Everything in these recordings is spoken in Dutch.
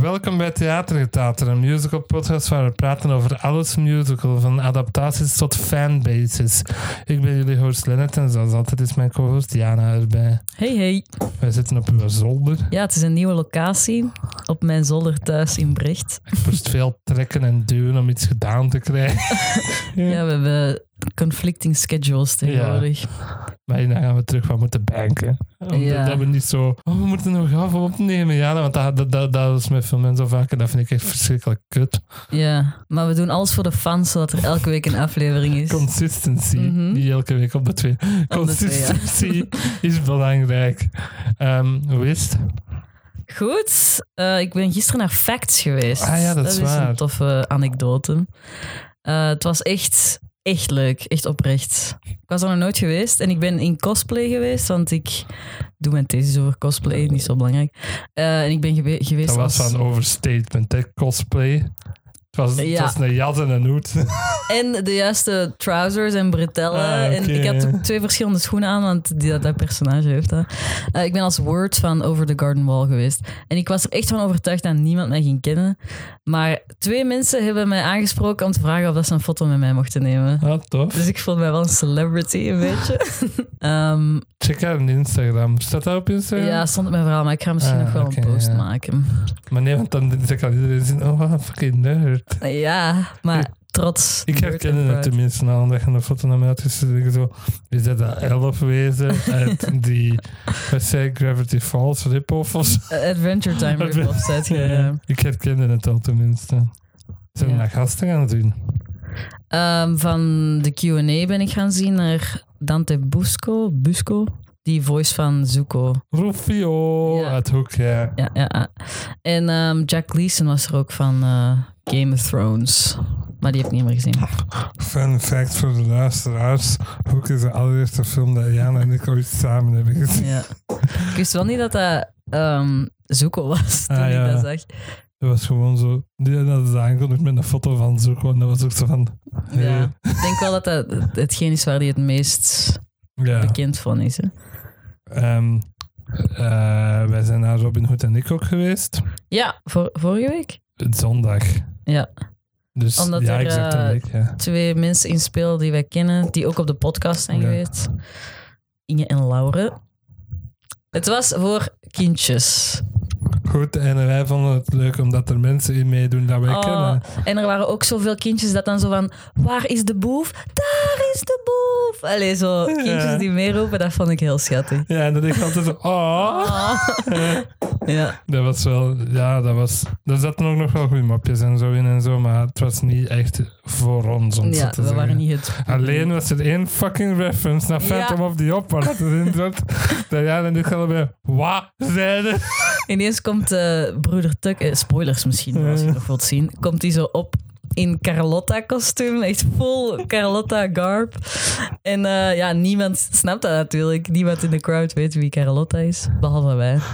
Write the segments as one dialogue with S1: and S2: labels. S1: welkom bij Theatergetater, een musical podcast waar we praten over alles musical, van adaptaties tot fanbases. Ik ben jullie host Lennart en zoals altijd is mijn co-host Jana erbij.
S2: Hey, hey.
S1: Wij zitten op uw zolder.
S2: Ja, het is een nieuwe locatie op mijn zolder thuis in Brecht.
S1: Ik moest veel trekken en duwen om iets gedaan te krijgen.
S2: Ja, we hebben conflicting schedules tegenwoordig.
S1: Maar hierna gaan we terug wat moeten banken. Omdat
S2: Ja.
S1: dat we niet zo... Oh, we moeten nog af opnemen, Jana. Want dat, dat, dat, dat is met veel mensen vaak en dat vind ik echt verschrikkelijk kut.
S2: Ja. maar we doen alles voor de fans, zodat er elke week een aflevering is.
S1: Consistency.
S2: Mhm.
S1: Niet elke week op de twee.
S2: Op de twee, ja.
S1: Consistency is belangrijk. Ehm, hoe is het?
S2: Goed, eh, ik ben gisteren naar Facts geweest.
S1: Ah ja, dat is waar.
S2: een toffe anekdote. Eh, het was echt, echt leuk, echt oprecht. Ik was er nog nooit geweest en ik ben in cosplay geweest, want ik doe mijn thesis over cosplay, niet zo belangrijk. Eh, en ik ben gewe- geweest
S1: Dat was
S2: als-
S1: van overstatement, hè? cosplay. Het was, het
S2: Ja.
S1: was een jas en een hoed.
S2: En de juiste trousers en bretellen.
S1: Ah, oké.
S2: En ik had ook twee verschillende schoenen aan, want die, dat, dat personage heeft dat. Eh, ik ben als Word van Over the Garden Wall geweest. En ik was er echt van overtuigd dat niemand mij ging kennen. Maar twee mensen hebben mij aangesproken om te vragen of dat ze een foto met mij mochten nemen.
S1: Ah, tof.
S2: Dus ik voelde mij wel een celebrity, een beetje. Ehm,
S1: Check haar op Instagram. Staat dat op Instagram?
S2: ja, stond op mijn verhaal, maar ik ga misschien
S1: Ah,
S2: nog wel
S1: oké,
S2: een post
S1: ja.
S2: maken.
S1: Maar nee, want dan zeg ik al iedereen zien, oh, wat een fucking nerd.
S2: Ja, maar trots.
S1: Ik herken
S2: Word en
S1: het
S2: proud.
S1: tenminste al, omdat je een foto naar mij had gestuurd. Ik zo, is dat een elfwezen uit die, wat zei ik, Gravity Falls rip-off of zo?
S2: Eh, Adventure Time rip-off, zei je, ja.
S1: Ik herkende het al tenminste. Zijn we
S2: Ja.
S1: naar gasten gaan doen?
S2: Ehm, van de Q&A ben ik gaan zien naar Dante Busco, Busco die voice van Zuko.
S1: Rufio
S2: Ja.
S1: uit Hoek, ja.
S2: Ja, ja, ja. En ehm, Jack Leeson was er ook van eh, Game of Thrones. Maar die heb ik niet meer gezien.
S1: Fun fact voor de luisteraars. Hoek is de allereerste film dat Jana en ik ooit samen hebben gezien.
S2: Ja. Ik wist wel niet dat dat ehm, Zuko was toen
S1: Ah, ja.
S2: ik dat zag.
S1: Dat was gewoon zo... Die dat is aangekondigd met een foto van zo gewoon. Dat was ook zo van... hey.
S2: Ja. Ik denk wel dat dat hetgeen is waar hij het meest
S1: Ja.
S2: bekend van is. Hè?
S1: Ehm, eh, wij zijn naar Robin Hood en ik ook geweest.
S2: Ja, vor- vorige week.
S1: Zondag.
S2: Ja.
S1: Dus
S2: Omdat
S1: ja,
S2: er,
S1: exact een
S2: eh,
S1: week, ja.
S2: twee mensen in speel die wij kennen, die ook op de podcast zijn
S1: Ja.
S2: geweest. Inge en Laure. Het was voor kindjes.
S1: Goed, en wij vonden het leuk omdat er mensen in meedoen dat wij
S2: Oh,
S1: kennen.
S2: en er waren ook zoveel kindjes dat dan zo van... Waar is de boef? Daar is de boef! Allee, zo
S1: Ja.
S2: kindjes die meeroepen, dat vond ik heel schattig.
S1: Ja, en dat ik altijd zo... Oh.
S2: Ah. ja.
S1: Dat was wel, ja, dat was. Er zaten ook nog wel goede mapjes en zo in en zo, maar het was niet echt voor ons. Om het zo
S2: ja,
S1: te
S2: we
S1: zeggen.
S2: waren niet het...
S1: Alleen was er één fucking reference naar
S2: Ja.
S1: Phantom of the Opera dat erin zat. dat Jan en ik allebei, wat zeiden?
S2: Ineens komt eh, broeder Tuck... eh, spoilers misschien, maar als je het nog wilt zien. Komt hij zo op in Carlotta-kostuum. Echt vol Carlotta-garb. En eh, ja, niemand snapt dat natuurlijk. Niemand in de crowd weet wie Carlotta is. Behalve wij.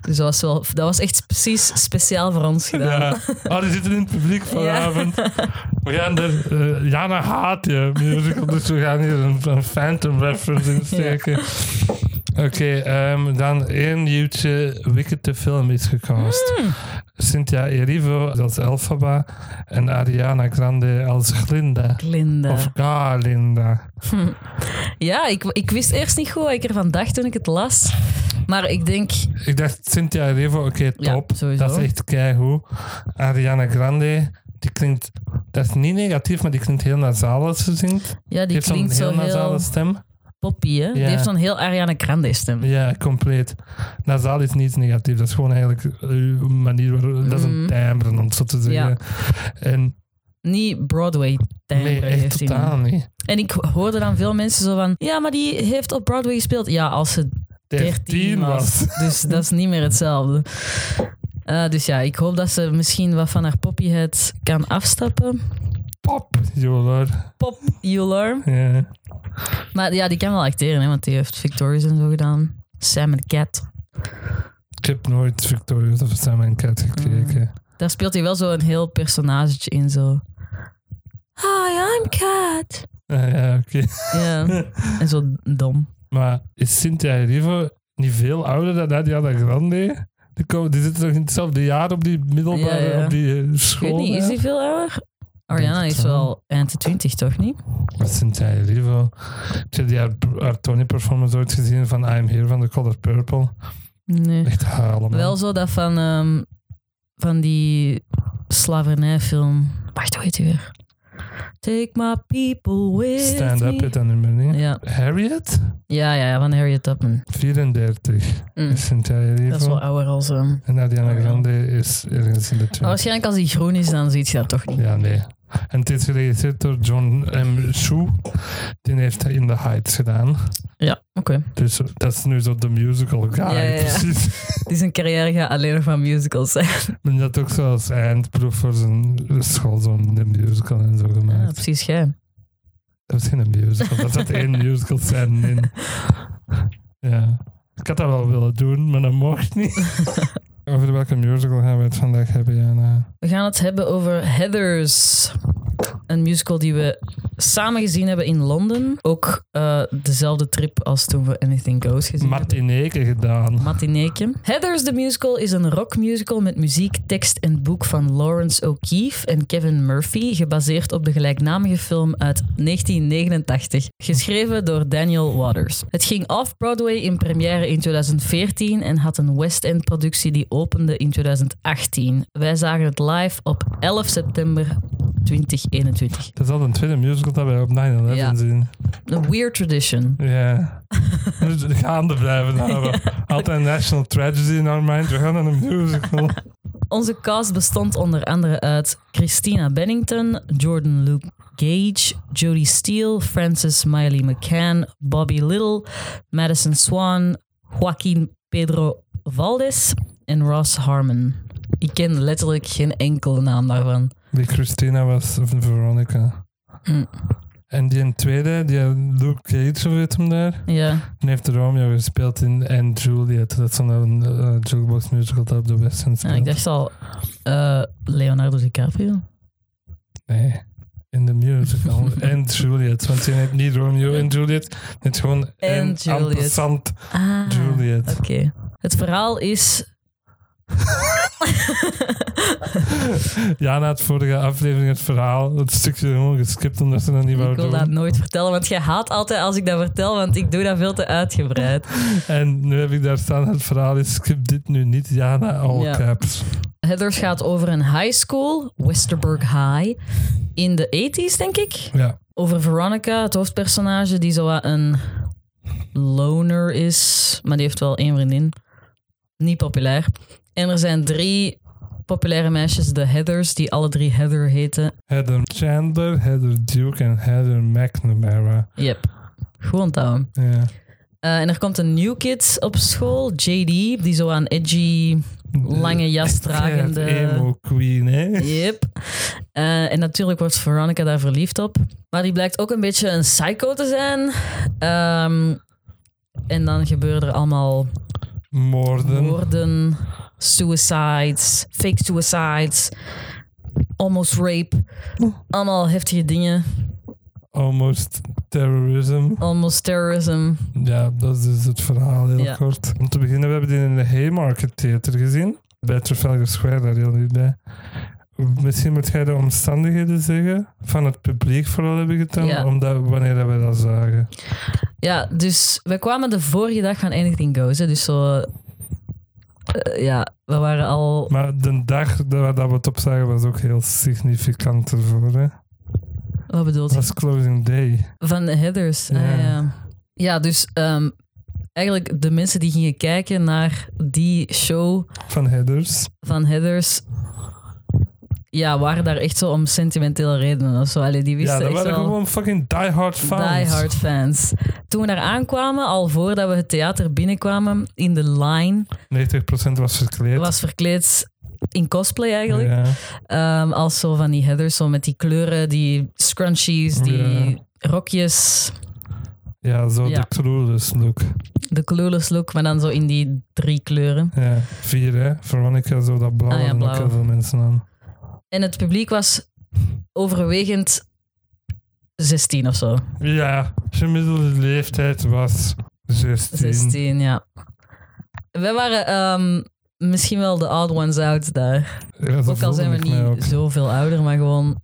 S2: Dus dat was, wel, dat was echt precies speciaal voor ons gedaan.
S1: Ja. Oh, die zitten in het publiek vanavond. We gaan er, eh, Jana haat je musical, dus we gaan hier een, een Phantom reference in steken. Oké, ehm, dan één nieuwtje. Wicked de film is gecast.
S2: Hmm.
S1: Cynthia Erivo als Elphaba en Ariana Grande als Glinda.
S2: Glinda.
S1: Of Galinda.
S2: Ja, ik, ik wist eerst niet goed wat ik ervan dacht toen ik het las. Maar ik denk...
S1: Ik dacht Cynthia Erivo, oké,
S2: Ja,
S1: top.
S2: sowieso.
S1: dat is echt keigoed. Ariana Grande, die klinkt... Dat is niet negatief, maar die klinkt heel nasaal als ze zingt.
S2: Ja, die
S1: Die heeft zo'n
S2: klinkt
S1: heel
S2: zo
S1: nasale
S2: heel
S1: stem.
S2: poppy, hè? Die
S1: Ja.
S2: heeft zo'n heel Ariana Grande stem.
S1: Ja, compleet. Nasaal is niets negatiefs. Dat is gewoon eigenlijk een manier waarop... Dat is een
S2: Mhm.
S1: timbre, om het zo te zeggen.
S2: Ja.
S1: En
S2: Niet Broadway timbre
S1: nee, echt
S2: heeft hij
S1: totaal
S2: niet.
S1: niet.
S2: En ik hoorde dan veel mensen zo van... Ja, maar die heeft op Broadway gespeeld. Ja, als ze 13 was. Dus dat is niet meer hetzelfde. Eh, dus ja, ik hoop dat ze misschien wat van haar poppyhead kan afstappen.
S1: Pop, joh
S2: Pop, Euler.
S1: Ja.
S2: Maar ja, die kan wel acteren, hè, want die heeft Victorious en zo gedaan. Sam and Cat.
S1: Ik heb nooit Victorious of Sam en Cat gekeken.
S2: Daar speelt hij wel zo'n heel personage in, zo... Hi, I'm Cat.
S1: Ah, ja, oké.
S2: Ja, en zo dom.
S1: Maar is Cynthia Erivo niet veel ouder dan Ariana Grande? Die, komen, die zitten toch in hetzelfde jaar op die middelbare
S2: Ja, ja.
S1: Op die eh,
S2: Ik weet
S1: school?
S2: niet, is
S1: hè?
S2: die veel ouder? Ariana
S1: Denk het
S2: is
S1: wel.
S2: wel eind de twintig, toch niet?
S1: Wat zijn jij lieve? Heb je die haar, haar Tony performance ooit gezien van I'm Here van The Color Purple?
S2: Nee.
S1: Echt halen. man.
S2: Wel zo dat van, ehm, van die slavernijfilm. Wacht, hoe heet die weer? Take my people with
S1: Stand
S2: me.
S1: up het dat nummer niet.
S2: Ja.
S1: Harriet?
S2: Ja, ja, ja, van Harriet Tubman.
S1: 34.
S2: Mm.
S1: Is Sint Lieve.
S2: Dat is wel ouder als... ehm,
S1: En Ariana
S2: Ja. Oh,
S1: Grande is ergens in de
S2: Maar
S1: 20.
S2: waarschijnlijk als die groen is, dan ziet je dat toch niet.
S1: Ja, nee. En het is geregisseerd door John M. Shu. Die heeft In The Heights gedaan.
S2: Ja, oké.
S1: Dus dat is nu zo de musical guy.
S2: Ja, ja, ja.
S1: Precies.
S2: Die zijn carrière gaat alleen nog van musicals zijn.
S1: En dat ook zo als eindproef voor zijn school, zo'n de musical en zo
S2: Ja,
S1: gemaakt.
S2: precies, jij.
S1: dat is geen musical. Dat zat één musical scène in. Ja. Ik had dat wel willen doen, maar dat mocht niet. Over welke musical gaan we het vandaag hebben, Jana?
S2: We gaan het hebben over Heathers. Een musical die we samen gezien hebben in Londen. Ook eh, dezelfde trip als toen we Anything Goes gezien hebben.
S1: Martineke gedaan.
S2: Matineekje. Heathers the Musical is een rockmusical met muziek, tekst en boek van Lawrence O'Keefe en Kevin Murphy, gebaseerd op de gelijknamige film uit 1989, geschreven door Daniel Waters. Het ging off-Broadway in première in 2014 en had een West End productie die opende in 2018. Wij zagen het live op 11 september 2021.
S1: Dat is al een tweede musical dat wij op 9-11
S2: Ja.
S1: zien.
S2: Een weird tradition.
S1: Ja. Dus We moeten de gaande blijven houden. Altijd een national tragedy in our mind. We gaan naar een musical.
S2: Onze cast bestond onder andere uit Christina Bennington, Jordan Luke Gage, Jodie Steele, Frances Miley McCann, Bobby Little, Madison Swan, Joaquin Pedro Valdes en Ross Harmon. Ik ken letterlijk geen enkele naam daarvan.
S1: Die Christina was van Veronica.
S2: Mm.
S1: En die een tweede, die Luke Cage, hoe heet hem daar?
S2: Ja,
S1: Die heeft Romeo gespeeld in And Juliet. Dat is dan een eh, jukebox musical dat op de West End
S2: ja,
S1: speelt.
S2: Ah, ik dacht al eh, Leonardo DiCaprio.
S1: Nee. In de musical. and Juliet. Want die heet niet Romeo en Juliet. Het is gewoon en
S2: Juliet.
S1: Juliet.
S2: Ah,
S1: Juliet.
S2: Oké. Het verhaal is...
S1: Ja, na het vorige aflevering het verhaal, het stukje gewoon geskipt omdat ze dat niet wou
S2: Ik wil
S1: doen.
S2: dat nooit vertellen, want jij haat altijd als ik dat vertel, want ik doe dat veel te uitgebreid.
S1: En nu heb ik daar staan, het verhaal is, skip dit nu niet, Jana, all
S2: Ja.
S1: caps.
S2: Heathers gaat over een high school, Westerburg High, in de 80s, denk ik.
S1: Ja.
S2: Over Veronica, het hoofdpersonage, die zo wat een loner is, maar die heeft wel één vriendin. Niet populair. En er zijn drie populaire meisjes, de Heathers, die alle drie Heather heten.
S1: Heather Chandler, Heather Duke en Heather McNamara.
S2: Yep. Gewoon touwen.
S1: Ja.
S2: Eh, en er komt een new kid op school, JD, die zo aan edgy, lange jas
S1: Zij heeft
S2: dragende...
S1: Emo queen, hè?
S2: Yep. Eh, en natuurlijk wordt Veronica daar verliefd op. Maar die blijkt ook een beetje een psycho te zijn. Ehm, en dan gebeuren er allemaal
S1: Moorden.
S2: moorden, suicides, fake suicides, almost rape. Allemaal heftige dingen.
S1: Almost terrorism.
S2: Almost terrorism.
S1: Ja, dat is dus het verhaal heel
S2: Ja.
S1: kort. Om te beginnen, we hebben die in de Haymarket Theater gezien. Bij Trafalgar Square, daar heel niet bij. Misschien moet jij de omstandigheden zeggen, van het publiek vooral hebben gedaan,
S2: Ja.
S1: omdat wanneer dat we dat zagen.
S2: Ja, dus we kwamen de vorige dag van Anything Goes. Hè, dus zo... eh, ja, we waren al...
S1: Maar de dag dat we dat we het opzagen was ook heel significant ervoor. Hè?
S2: Wat bedoelt
S1: Dat was closing day.
S2: Van de Heathers.
S1: Ja.
S2: Ah, ja. ja, dus ehm, eigenlijk de mensen die gingen kijken naar die show
S1: Van Headers.
S2: van Heathers. Ja, waren daar echt zo om sentimentele redenen of zo. Allee, die
S1: Ja,
S2: wisten
S1: dat
S2: echt
S1: waren
S2: wel
S1: gewoon fucking diehard fans.
S2: diehard fans. Toen we daar aankwamen, al voordat we het theater binnenkwamen, in de line,
S1: 90% was verkleed.
S2: was verkleed in cosplay eigenlijk.
S1: Ja.
S2: Ehm, als zo van die Heathers, zo met die kleuren, die scrunchies, die
S1: Oh, Ja.
S2: rokjes.
S1: ja, zo
S2: Ja.
S1: de dus, clueless look.
S2: De clueless look, maar dan zo in die drie kleuren.
S1: Ja, vier hè. Veronica zo dat blauw
S2: Ah, ja,
S1: en ook
S2: blauw.
S1: heel veel mensen aan.
S2: En het publiek was overwegend 16 of zo.
S1: Ja, gemiddelde leeftijd was 16.
S2: 16, ja. Wij waren ehm, misschien wel de odd ones out daar.
S1: Ja, dat
S2: Ook al
S1: voelde
S2: zijn we
S1: ik mij ook.
S2: niet zoveel ouder, maar gewoon...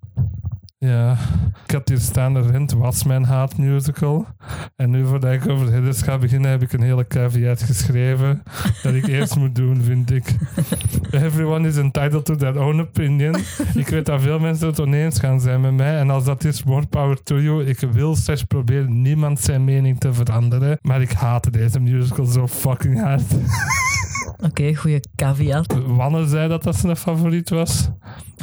S1: Ja, ik had hier staan erin, was mijn haatmusical. En nu voordat ik over de hidders ga beginnen, heb ik een hele caveat geschreven dat ik eerst moet doen, vind ik. Everyone is entitled to their own opinion. Ik weet dat veel mensen het oneens gaan zijn met mij. En als dat is, more power to you. Ik wil slechts proberen niemand zijn mening te veranderen. Maar ik haat deze musical zo fucking hard.
S2: Oké, goede caveat.
S1: Wanneer zei dat dat zijn favoriet was?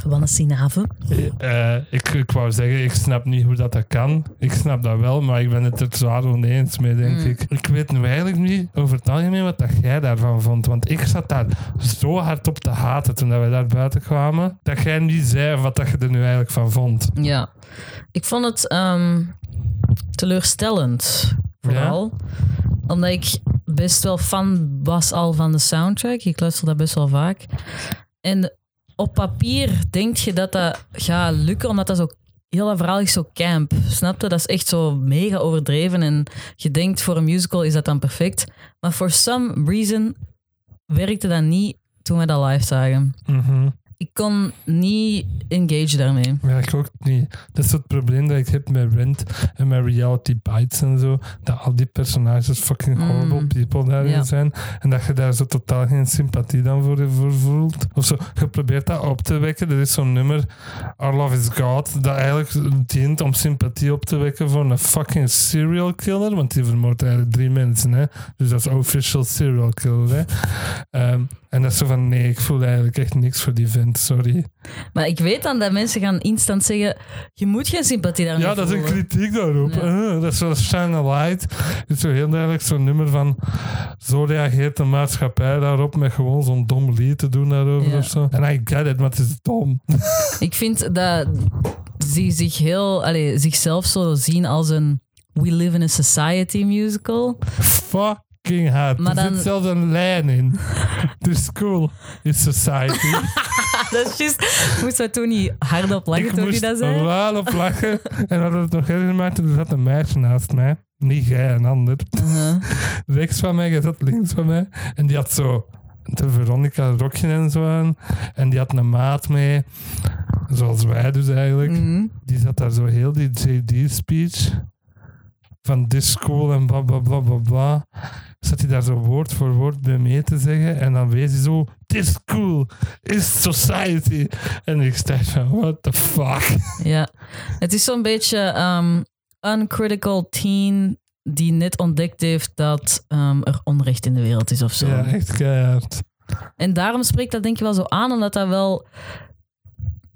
S2: Wannes Sinave.
S1: Eh, ik, ik wou zeggen, ik snap niet hoe dat, dat kan. Ik snap dat wel, maar ik ben het er zwaar oneens mee, denk
S2: Mm.
S1: ik. Ik weet nu eigenlijk niet over het algemeen wat dat jij daarvan vond. Want ik zat daar zo hard op te haten toen dat wij daar buiten kwamen, dat jij niet zei wat dat je er nu eigenlijk van vond.
S2: Ja. Ik vond het ehm, teleurstellend, vooral. Omdat ik best wel fan was al van de soundtrack. Ik luister dat best wel vaak. En op papier denk je dat dat gaat lukken, omdat dat zo... Heel dat verhaal is zo camp, snap je? Dat is echt zo mega overdreven en je denkt voor een musical is dat dan perfect. Maar for some reason werkte dat niet toen we dat live zagen.
S1: Mhm.
S2: Ik kon niet engage daarmee.
S1: Ja, ik ook niet. Dat is het probleem dat ik heb met Rent en met Reality Bites en zo. Dat al die personages fucking
S2: Mm.
S1: horrible people daarin
S2: Ja.
S1: zijn. En dat je daar zo totaal geen sympathie dan voor, voor voelt. Of zo. Je probeert dat op te wekken. Er is zo'n nummer, Our Love is God, dat eigenlijk dient om sympathie op te wekken voor een fucking serial killer. Want die vermoordt eigenlijk drie mensen, hè. Dus dat is official serial killer, hè. Ehm, en dat is zo van, nee, ik voel eigenlijk echt niks voor die vent, sorry.
S2: Maar ik weet dan dat mensen gaan instant zeggen: je moet geen sympathie daarmee
S1: Ja, dat is een
S2: voelen.
S1: kritiek daarop.
S2: Ja.
S1: Eh, dat is zoals Shine a Light. Het is zo heel duidelijk zo'n nummer van... Zo reageert de maatschappij daarop met gewoon zo'n dom lied te doen daarover
S2: Ja.
S1: of zo. En I get it, maar het is dom.
S2: Ik vind dat ze zich heel, allee, zichzelf zo zien als een We Live in a Society musical.
S1: Fucking hard.
S2: Maar
S1: er
S2: dan-
S1: zit zelfs een lijn in. The school is society.
S2: Ah, dat is juist. Moest dat toen niet hardop lachen
S1: Ik
S2: toen die
S1: moest Oh,
S2: dat
S1: er
S2: zei?
S1: wel op lachen. en wat het nog erger maakte, er zat een meisje naast mij. Niet jij, een ander.
S2: Uh-huh.
S1: rechts van mij, jij zat links van mij. En die had zo de Veronica rokje en zo aan. En die had een maat mee, zoals wij dus eigenlijk.
S2: Mhm.
S1: Die zat daar zo heel die JD-speech van this school en bla bla bla bla bla. Zat hij daar zo woord voor woord bij mee te zeggen. En dan wees hij zo, this school is society. En ik dacht van, what the fuck.
S2: Ja, het is zo'n beetje ehm, uncritical teen die net ontdekt heeft dat ehm, er onrecht in de wereld is of zo.
S1: Ja, echt keihard.
S2: En daarom spreekt dat denk ik wel zo aan, omdat dat wel...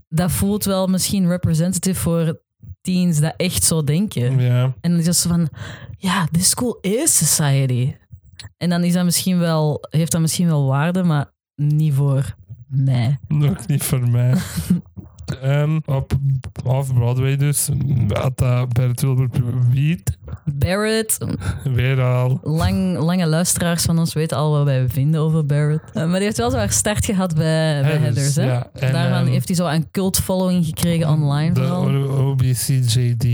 S2: Dat voelt wel misschien representative voor teens dat echt zo denken.
S1: Ja.
S2: En dan is dat zo van, ja, this school is society. En dan is dat misschien wel, heeft dat misschien wel waarde, maar niet voor mij.
S1: Nog niet voor mij. Ehm, op Off-Broadway dus had dat Bert Wilbert Wiet
S2: Barrett,
S1: weer al.
S2: lang, lange luisteraars van ons weten al wat wij vinden over Barrett. Eh, maar die heeft wel zo haar start gehad bij, bij Heathers. Hè?
S1: Ja, en,
S2: Daarvan
S1: ehm,
S2: heeft hij zo een cult following gekregen online.
S1: de
S2: vooral.
S1: O- OBCJD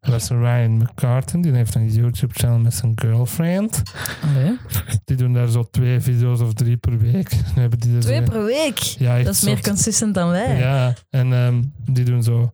S1: was Ryan McCartan. Die heeft een YouTube-channel met zijn girlfriend.
S2: Allee.
S1: Die doen daar zo twee video's of drie per week. Nu hebben die er
S2: Twee
S1: zo-
S2: per week.
S1: Ja, echt
S2: Dat is meer
S1: zot.
S2: consistent dan wij.
S1: Ja, en ehm, die doen zo...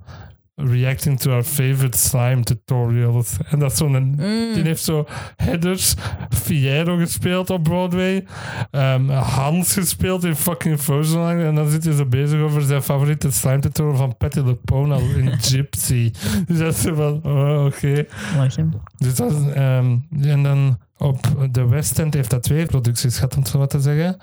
S1: Reacting to our favorite slime tutorials. En dat is zo'n
S2: Mm.
S1: Die heeft zo Headers, Fiero gespeeld op Broadway. ehm, Hans gespeeld in fucking Frozen Land. En dan zit hij zo bezig over zijn favoriete slime tutorial van Patty LuPone in Gypsy. Dus dat is zo van, oh, oké.
S2: Lachen.
S1: Dus dat is, ehm, en dan op de West End heeft dat twee producties gehad, om het zo maar te zeggen.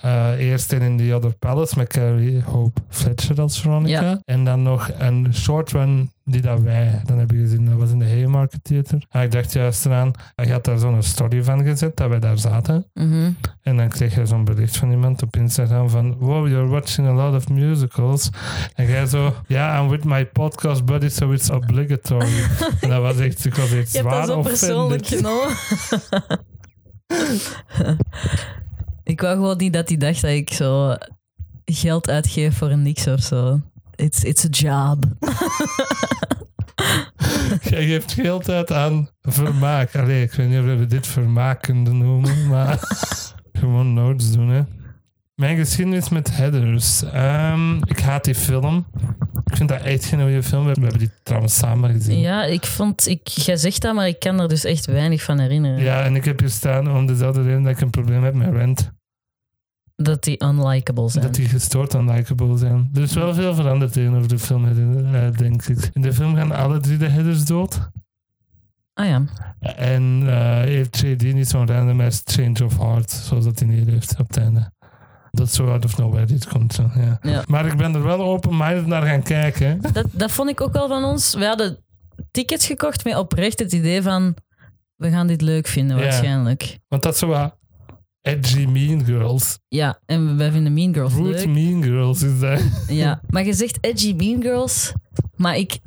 S1: Eh, eerst een in The Other Palace met Carrie Hope Fletcher als Veronica.
S2: Ja.
S1: En dan nog een short run die dat wij dan hebben gezien. Dat was in de Haymarket Theater. En ik dacht juist eraan, hij had daar zo'n story van gezet dat wij daar zaten.
S2: Mhm.
S1: En dan kreeg je zo'n bericht van iemand op Instagram van Wow, you're watching a lot of musicals. En jij zo, yeah, I'm with my podcast buddy, so it's obligatory. en dat was echt, ik was echt
S2: Je hebt
S1: zwaar
S2: dat zo
S1: offended.
S2: persoonlijk genomen. ik wou gewoon niet dat hij dacht dat ik zo geld uitgeef voor niks of zo. It's, it's a job.
S1: Jij geeft geld uit aan vermaak. Allee, ik weet niet of we dit vermaak kunnen noemen, maar gewoon notes doen, hè. Mijn geschiedenis met headers. Ehm, ik haat die film. Ik vind dat echt geen goede film. We hebben die trouwens samen gezien.
S2: Ja, ik vond... Ik, jij zegt dat, maar ik kan er dus echt weinig van herinneren.
S1: Ja, en ik heb hier staan om dezelfde reden dat ik een probleem heb met Rent.
S2: Dat die unlikable zijn.
S1: Dat die gestoord unlikable zijn. Er is wel veel veranderd tegenover de film, eh, denk ik. In de film gaan alle drie de headers dood.
S2: Ah ja.
S1: En eh, heeft JD niet zo'n random ass change of heart, zoals dat hij hier heeft op het einde. Dat zo out of nowhere dit komt. Zo, ja.
S2: Ja.
S1: Maar ik ben er wel open-minded naar gaan kijken.
S2: Dat, dat vond ik ook wel van ons. We hadden tickets gekocht met oprecht het idee van... We gaan dit leuk vinden,
S1: Ja.
S2: waarschijnlijk.
S1: Want dat is zo wat edgy mean girls.
S2: Ja, en wij vinden Mean Girls
S1: Rude
S2: leuk.
S1: mean girls is dat.
S2: Ja, maar je zegt edgy Mean Girls, maar ik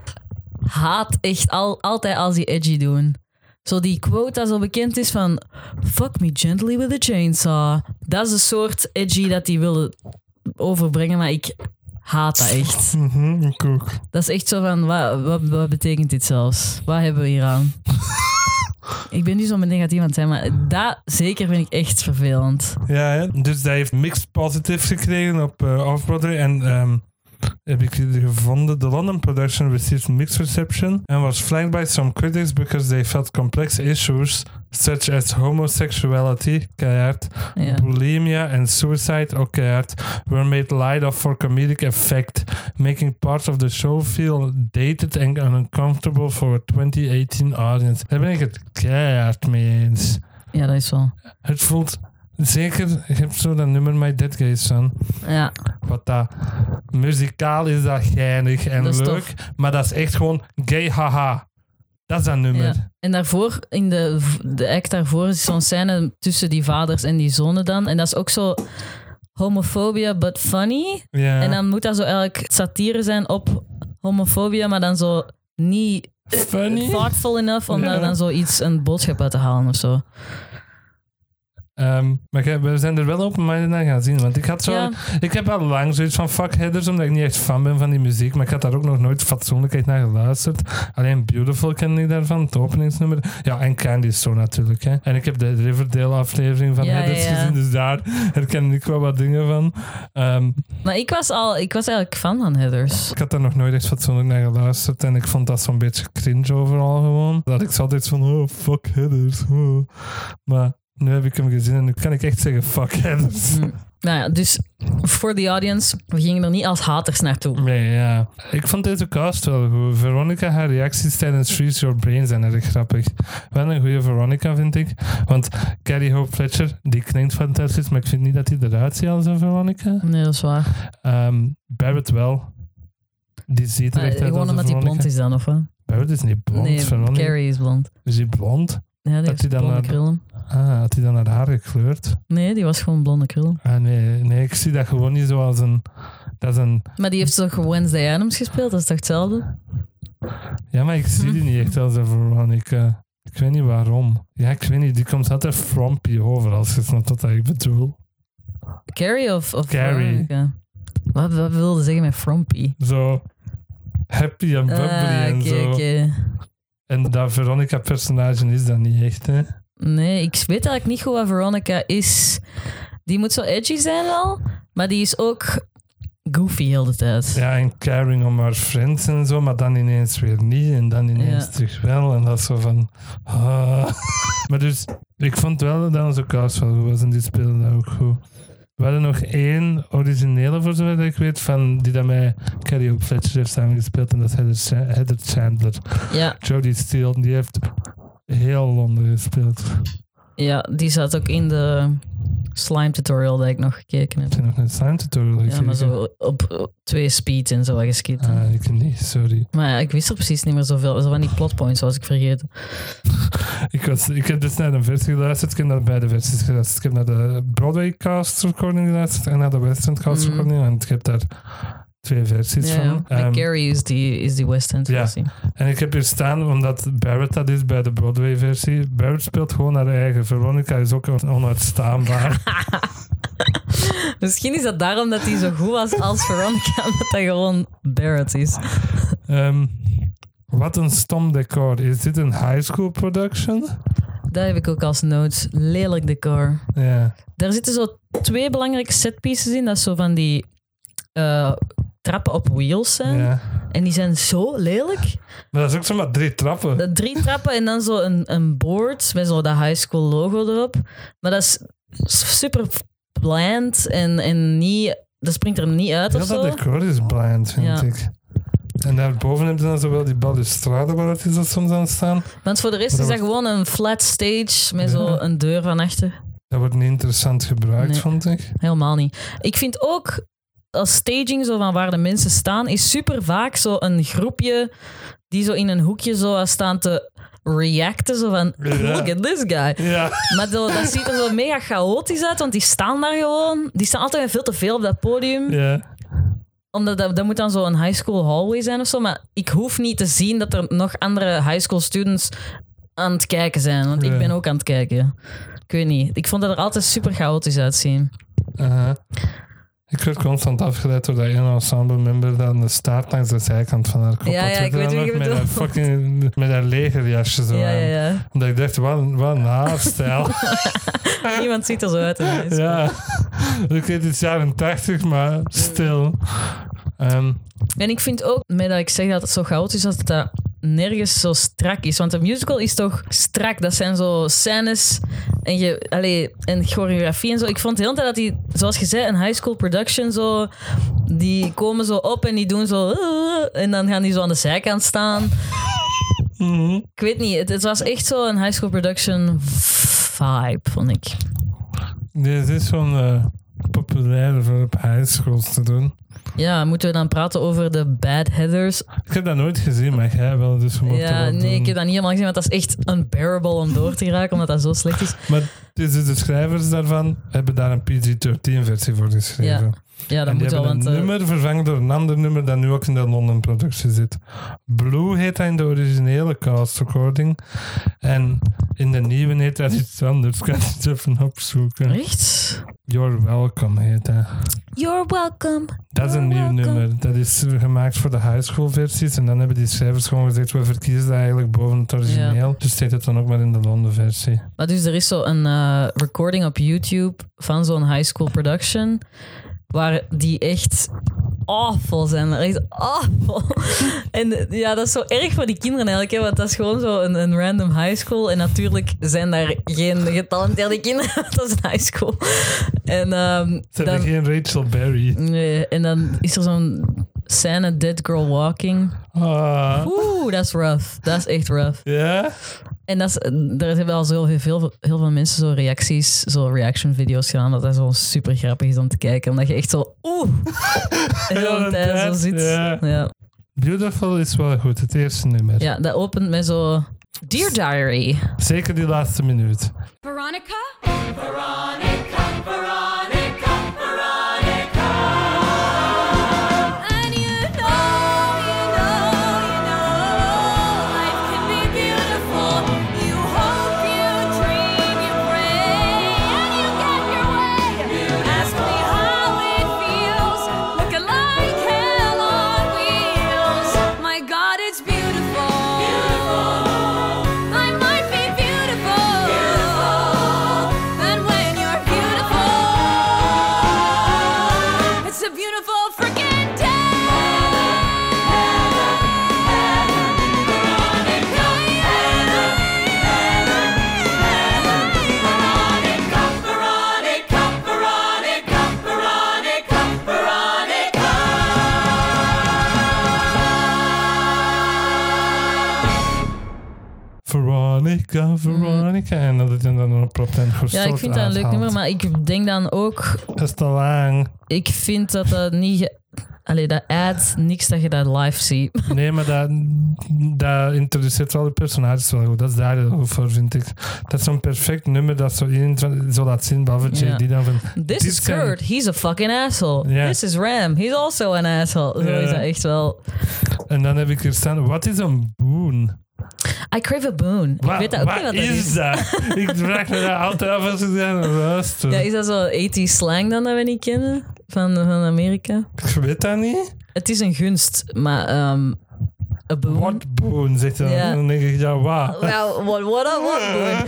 S2: haat echt al, altijd als die edgy doen. Zo die quote dat zo bekend is van fuck me gently with a chainsaw. Dat is de soort edgy dat die willen overbrengen, maar ik haat dat echt.
S1: Mhm, ik ook.
S2: Dat is echt zo van, wat, wat, wat betekent dit zelfs? Wat hebben we hier aan? ik ben nu zo meteen gaat iemand zijn, maar dat zeker vind ik echt vervelend.
S1: Ja, hè. dus hij heeft mixed positives gekregen op eh Off-Broadway. En ehm, heb ik hier gevonden. The London production received mixed reception and was flagged by some critics because they felt complex issues such as homosexuality, keihard,
S2: Ja.
S1: bulimia and suicide, ook keihard, were made light of for comedic effect, making parts of the show feel dated and uncomfortable for a 2018 audience. Daar ben ik het keihard mee eens.
S2: ja, dat is wel.
S1: Het voelt zeker, je hebt zo dat nummer My Dead Guys van.
S2: Ja,
S1: Wat dat muzikaal is, dat geinig en
S2: Dat is
S1: leuk.
S2: tof.
S1: Maar dat is echt gewoon gay haha. Dat is dat nummer.
S2: Ja. En daarvoor, in de, de act daarvoor, is zo'n scène tussen die vaders en die zonen dan. En dat is ook zo homofobia, but funny.
S1: Ja.
S2: En dan moet dat zo eigenlijk satire zijn op homofobia, maar dan zo niet
S1: Funny.
S2: thoughtful enough om
S1: Ja.
S2: daar dan zoiets, een boodschap uit te halen of zo.
S1: Ehm, maar jij- we zijn er wel open-minded naar gaan zien. Want ik had zo...
S2: Ja.
S1: Ik heb al lang zoiets van fuckheaders, omdat ik niet echt fan ben van die muziek. Maar ik had daar ook nog nooit fatsoenlijk echt naar geluisterd. Alleen Beautiful kende ik daarvan, het openingsnummer. Ja, en Candy zo natuurlijk. Hè. En ik heb de Riverdale aflevering van
S2: Ja,
S1: Headers
S2: ja, ja.
S1: gezien, dus daar herken ik wel wat dingen van. Ehm,
S2: Maar ik was al, ik was eigenlijk fan van Heathers.
S1: ik had daar nog nooit echt fatsoenlijk naar geluisterd. En ik vond dat zo'n beetje cringe overal gewoon. Dat ik zo altijd van, oh, fuck headers. oh. Maar nu heb ik hem gezien en nu kan ik echt zeggen, fuck headers.
S2: Mm. Nou ja, dus voor de audience, we gingen er niet als haters naartoe.
S1: Nee, ja. Ik vond deze cast wel goed. Veronica, haar reacties tijdens Freeze Your Brain zijn erg grappig. Wel een goede Veronica, vind ik. Want Carrie Hope Fletcher, die klinkt fantastisch, maar ik vind niet dat hij eruit ziet als een Veronica.
S2: Nee, dat is waar.
S1: Ehm, Barrett wel. Die ziet er
S2: Maar
S1: echt uit
S2: gewoon
S1: als een
S2: omdat hij
S1: Veronica.
S2: blond is dan, of wat?
S1: Barrett is niet blond,
S2: Nee,
S1: Veronica.
S2: Carrie is blond.
S1: Is hij blond?
S2: Ja, die
S1: Had
S2: heeft
S1: hij dan
S2: blonde
S1: een-
S2: krullen.
S1: Ah, had hij dan haar haar gekleurd?
S2: Nee, die was gewoon blonde krul.
S1: Ah, nee, nee, ik zie dat gewoon niet zoals een... Dat is een...
S2: Maar die heeft toch Wednesday Adams gespeeld? Dat is toch hetzelfde?
S1: Ja, maar ik zie die niet echt als een Veronica. Ik weet niet waarom. Ja, ik weet niet. Die komt altijd frumpy over, als je snapt wat ik bedoel.
S2: Carrie of... of
S1: Carrie.
S2: Veronica? Wat, wat wilde zeggen met frumpy?
S1: Zo happy en
S2: Ah,
S1: bubbly en
S2: oké,
S1: zo.
S2: oké.
S1: En dat Veronica-personage is dat niet echt, hè?
S2: Nee, ik weet eigenlijk niet goed wat Veronica is. Die moet zo edgy zijn wel, maar die is ook goofy heel de tijd.
S1: Ja, en caring om haar friends en zo, maar dan ineens weer niet. En dan ineens
S2: Ja.
S1: terug wel. En dat is zo van... ah. Maar dus, ik vond wel dat onze cast wel goed was. En die speelden dat ook goed. We hadden nog één originele, voor zover dat ik weet, van die dat mij Carrie op Fletcher heeft samengespeeld. En dat is Heather Cha- Heather Chandler.
S2: Ja,
S1: Jodie Steele, die heeft heel Londen gespeeld.
S2: ja, die zat ook in de slime tutorial dat ik nog gekeken
S1: Ik
S2: heb.
S1: heb nog een slime tutorial
S2: Ja,
S1: gekeken.
S2: maar zo op, op twee speed en zo wat geskipt.
S1: Ah, ik niet, sorry.
S2: Maar ja, ik wist er precies niet meer zoveel. Zo van die plotpoints was ik vergeten.
S1: Ik, was, ik heb dus naar een versie geluisterd. Ik heb naar beide versies geluisterd. Ik heb naar de Broadway cast recording geluisterd en naar de Western cast
S2: Mhm.
S1: recording. En ik heb daar twee versies
S2: Ja,
S1: van.
S2: maar
S1: Ehm,
S2: Carrie is die, is die West End
S1: ja.
S2: versie.
S1: en ik heb hier staan, omdat Barrett dat is bij de Broadway versie. Barrett speelt gewoon haar eigen. Veronica is ook on- onuitstaanbaar.
S2: Misschien is dat daarom dat hij zo goed was als Veronica, omdat hij gewoon Barrett is.
S1: Ehm, wat een stom decor. Is dit een high school production?
S2: Daar heb ik ook als notes. Lelijk decor.
S1: Ja.
S2: Daar zitten zo twee belangrijke setpieces in. Dat is zo van die eh, trappen op wheels zijn.
S1: Ja.
S2: En die zijn zo lelijk.
S1: Maar dat is ook zomaar drie trappen.
S2: Dat drie trappen en dan zo een, een board met zo dat high school logo erop. Maar dat is super bland en, en niet... Dat springt er niet uit of
S1: Heel dat
S2: zo.
S1: decor is blind, vind
S2: Ja.
S1: ik. En daarboven heb je dan zowel die balustrade waar dat is dat soms aan staan.
S2: Want voor de rest
S1: Maar
S2: is
S1: dat
S2: dat gewoon een flat stage met zo
S1: Ja.
S2: een deur van achter.
S1: Dat wordt niet interessant gebruikt,
S2: Nee.
S1: vond ik.
S2: Helemaal niet. Ik vind ook als staging zo van waar de mensen staan, is super vaak zo een groepje die zo in een hoekje zo aan staan te reacten. Zo van,
S1: Ja.
S2: look at this guy.
S1: Ja,
S2: Maar zo, dat ziet er zo mega chaotisch uit, want die staan daar gewoon. Die staan altijd veel te veel op dat podium.
S1: ja.
S2: Omdat dat, dat moet dan zo een high school hallway zijn of zo. Maar ik hoef niet te zien dat er nog andere high school students aan het kijken zijn. Want
S1: Ja.
S2: ik ben ook aan het kijken. Ik weet niet. Ik vond dat er altijd super chaotisch uitzien.
S1: Aha. Ik werd constant afgeleid door dat ene ensemble member dat aan de staart langs de zijkant van haar kapot
S2: Ja, ja, ik
S1: werd
S2: weet wie je
S1: gedaan had, Met
S2: bedoelt.
S1: haar fucking met haar legerjasje zo
S2: Ja,
S1: aan.
S2: ja, ja.
S1: Omdat ik dacht, wat, een- wat een haarstijl.
S2: Niemand ziet er zo uit. in high school.
S1: ja. Ik weet het is jaren 80, maar stil. Ehm,
S2: En ik vind ook, met dat ik zeg dat het zo chaotisch is, dat dat nergens zo strak is. Want een musical is toch strak? Dat zijn zo scènes en, je, allee, en choreografie en zo. Ik vond de hele tijd dat die, zoals je zei, een high school production zo... Die komen zo op en die doen zo... "Ah," En dan gaan die zo aan de zijkant staan.
S1: mhm.
S2: Ik weet niet, het, het was echt zo een high school production vibe, vond ik.
S1: Dit is zo'n eh, populaire voor op high schools te doen.
S2: Ja, moeten we dan praten over de bad headers?
S1: Ik heb dat nooit gezien, maar jij wel, dus we mochten
S2: Ja,
S1: dat
S2: nee, ik
S1: doen.
S2: heb dat niet helemaal gezien, want dat is echt unbearable om door te raken, omdat dat zo slecht is.
S1: Maar dus de schrijvers daarvan hebben daar een PG-13-versie voor geschreven.
S2: Ja, dat
S1: en die
S2: moet wel,
S1: hebben een
S2: want... eh,
S1: nummer vervangen door een ander nummer dat nu ook in de Londen-productie zit. Blue heet dat in de originele cast recording. En in de nieuwe heet dat iets anders. Kan je het even opzoeken.
S2: Echt?
S1: You're Welcome heet dat.
S2: You're welcome.
S1: Dat is een nieuw
S2: Welcome.
S1: nummer. Dat is gemaakt voor de high school versies. En dan hebben die schrijvers gewoon gezegd, we verkiezen dat eigenlijk boven het origineel. Dus steekt het dan ook maar in de Londen versie.
S2: Maar dus er is zo een eh, recording op YouTube van zo'n high school production. Waar die echt awful zijn. Echt awful. En eh, ja, dat is zo erg voor die kinderen eigenlijk. Hè, want dat is gewoon zo een, een random high school. En natuurlijk zijn daar geen getalenteerde kinderen. want dat is een high school. En, ehm,
S1: Ze hebben
S2: dan,
S1: geen Rachel Berry.
S2: nee, en dan is er zo'n scène Dead Girl Walking.
S1: Ah.
S2: Oeh, dat is rough. Dat is echt rough.
S1: Ja?
S2: En dat is, daar hebben al zo heel veel, heel veel mensen zo reacties, zo reaction video's gedaan, dat dat zo super grappig is om te kijken. Omdat je echt zo, oeh, heel
S1: Heel
S2: een
S1: een
S2: tijd zo
S1: tijd,
S2: zit.
S1: ja.
S2: Ja. Ja.
S1: Beautiful is wel goed, het eerste nummer.
S2: dat opent met zo, Dear Diary.
S1: Zeker die laatste minuut.
S3: Veronica? And you know, you know, you know, life can be beautiful. You hope, you dream, you pray, and you get your way. Ask me how it feels, looking like hell on wheels. My God, it's beautiful. I might be beautiful. And when you're beautiful, it's a beautiful freaking
S1: Veronica, Veronica. En dat het dan een prop en
S2: Mhm. Ja, ik vind dat een leuk nummer, maar ik denk dan ook,
S1: Dat is te lang.
S2: ik vind dat dat niet... ge- Allee, dat add niks dat je dat live ziet.
S1: Nee, maar dat, dat introduceert wel de personages wel goed. Dat is daar heel goed voor, vind ik. Dat is zo'n perfect nummer dat zo, in, zo laat zien, behalve
S2: Ja.
S1: JD dan van...
S2: This
S1: dit
S2: is
S1: zijn-
S2: Kurt, he's a fucking asshole.
S1: Ja.
S2: This is Ram, he's also an asshole. Zo
S1: Ja.
S2: is dat echt wel...
S1: En dan heb ik hier staan, wat is een boon?
S2: I crave a boon.
S1: Wa-
S2: ik weet dat ook
S1: wat
S2: niet wat dat
S1: is,
S2: is.
S1: dat? ik vraag me dat altijd af als ik daar naar luister.
S2: Ja, is dat zo 80 slang dan dat we niet kennen van, van Amerika?
S1: Ik weet dat niet.
S2: Het is een gunst, maar ehm een boon.
S1: Wat boon, zegt hij. dan.
S2: Ja.
S1: En dan denk ik, ja, wat?
S2: Nou, what, what, what, boon?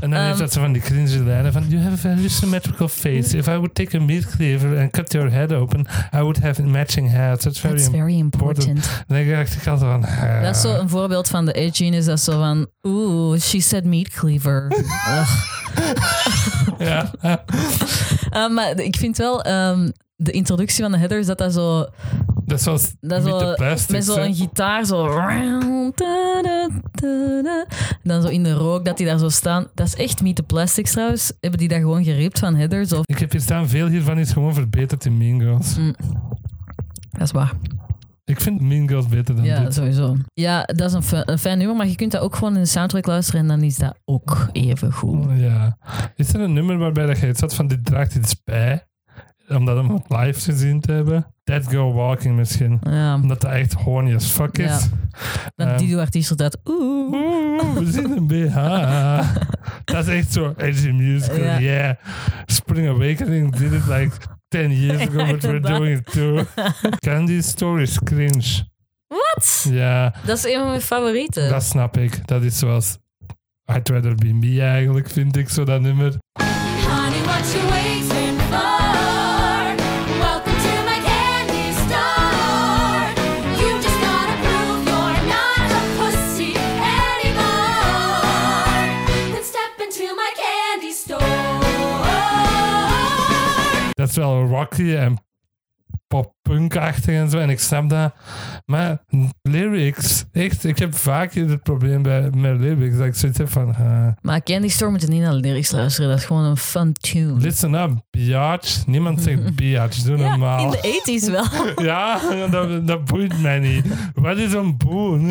S1: En dan heeft dat ze van die cringe lijnen van... You have a very symmetrical face. If I would take a meat cleaver and cut your head open... I would have matching hats. That's very
S2: That's very important.
S1: important. En dan dacht ik altijd van... ah.
S2: Dat is zo een voorbeeld van de edging is dat zo van, oeh, she said meat cleaver. Ugh.
S1: Ja, ja.
S2: Eh, maar ik vind wel ehm, de introductie van de header is dat dat zo
S1: dat is zoals
S2: dat is
S1: met de
S2: zo,
S1: plastics.
S2: met
S1: hè.
S2: zo'n gitaar zo. En dan zo in de rook dat die daar zo staan. Dat is echt Meet the Plastics trouwens. Hebben die dat gewoon geript van headers? Of,
S1: Ik heb hier staan, veel hiervan is gewoon verbeterd in Mean Girls.
S2: dat is waar.
S1: Ik vind Mean Girls beter dan
S2: Ja,
S1: dit.
S2: sowieso. Ja, dat is een, fi- een fijn nummer, maar je kunt dat ook gewoon in de soundtrack luisteren en dan is dat ook even goed.
S1: Ja. Is er een nummer waarbij dat je het zat van dit draagt iets bij? Omdat hem op live gezien te hebben? Dead Girl Walking misschien.
S2: Ja,
S1: Omdat dat echt horny as fuck
S2: Ja.
S1: is.
S2: dan
S1: Ehm.
S2: die artiest dat. Eh. Oeh.
S1: Oeh, we zien een BH. Dat is echt zo edgy musical.
S2: Ja.
S1: Yeah. Spring Awakening did it like 10 years ago, but we're
S2: Inderdaad.
S1: doing it too. Candy Store is cringe.
S2: Wat?
S1: Ja,
S2: Dat is een van mijn favorieten.
S1: dat snap ik. Dat is zoals I'd Rather Be Me eigenlijk, vind ik zo dat nummer.
S3: Honey, what you waiting for? Welcome to my candy store. You just gotta prove you're not a pussy anymore. Then step into my candy store.
S1: Dat is wel rocky en pop-punk-achtig en zo. En ik snap dat. Maar lyrics, echt, ik heb vaak hier het probleem bij, met lyrics. Dat ik zoiets heb van... eh,
S2: Maar Candy Store moet je niet naar de lyrics luisteren. Dat is gewoon een fun tune.
S1: Listen up, biatch. Niemand zegt biatch, doe
S2: ja, in
S1: normaal.
S2: de 80s wel.
S1: Ja, dat, dat boeit mij niet. Wat is een boon?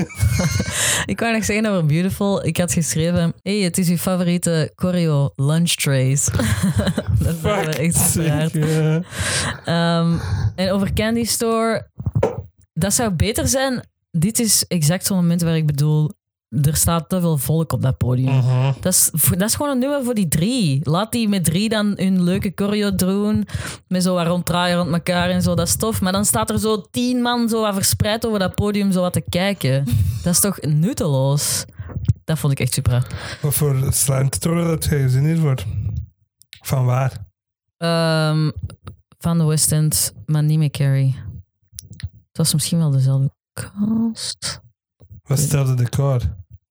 S2: Ik wou nog zeggen over Beautiful. Ik had geschreven: hey, het is uw favoriete choreo lunch trays. dat is wel
S1: Fuck.
S2: echt
S1: zeg,
S2: straat.
S1: eh.
S2: Ehm, en over Candy Store, dat zou beter zijn. Dit is exact zo'n moment waar ik bedoel: er staat te veel volk op dat podium.
S1: Mhm.
S2: Dat is, voor- dat is gewoon een nummer voor die drie. Laat die met drie dan hun leuke choreo doen. Met zo wat ronddraaien rond elkaar en zo, dat is tof. Maar dan staat er zo tien man zo wat verspreid over dat podium zo wat te kijken. Dat is toch nutteloos? Dat vond ik echt super raar.
S1: Wat voor slime tutorial heb jij gezien hiervoor? Van waar?
S2: Ehm, van de West End, maar niet meer Carrie. Het was misschien wel dezelfde cast.
S1: Wat stelde de decor?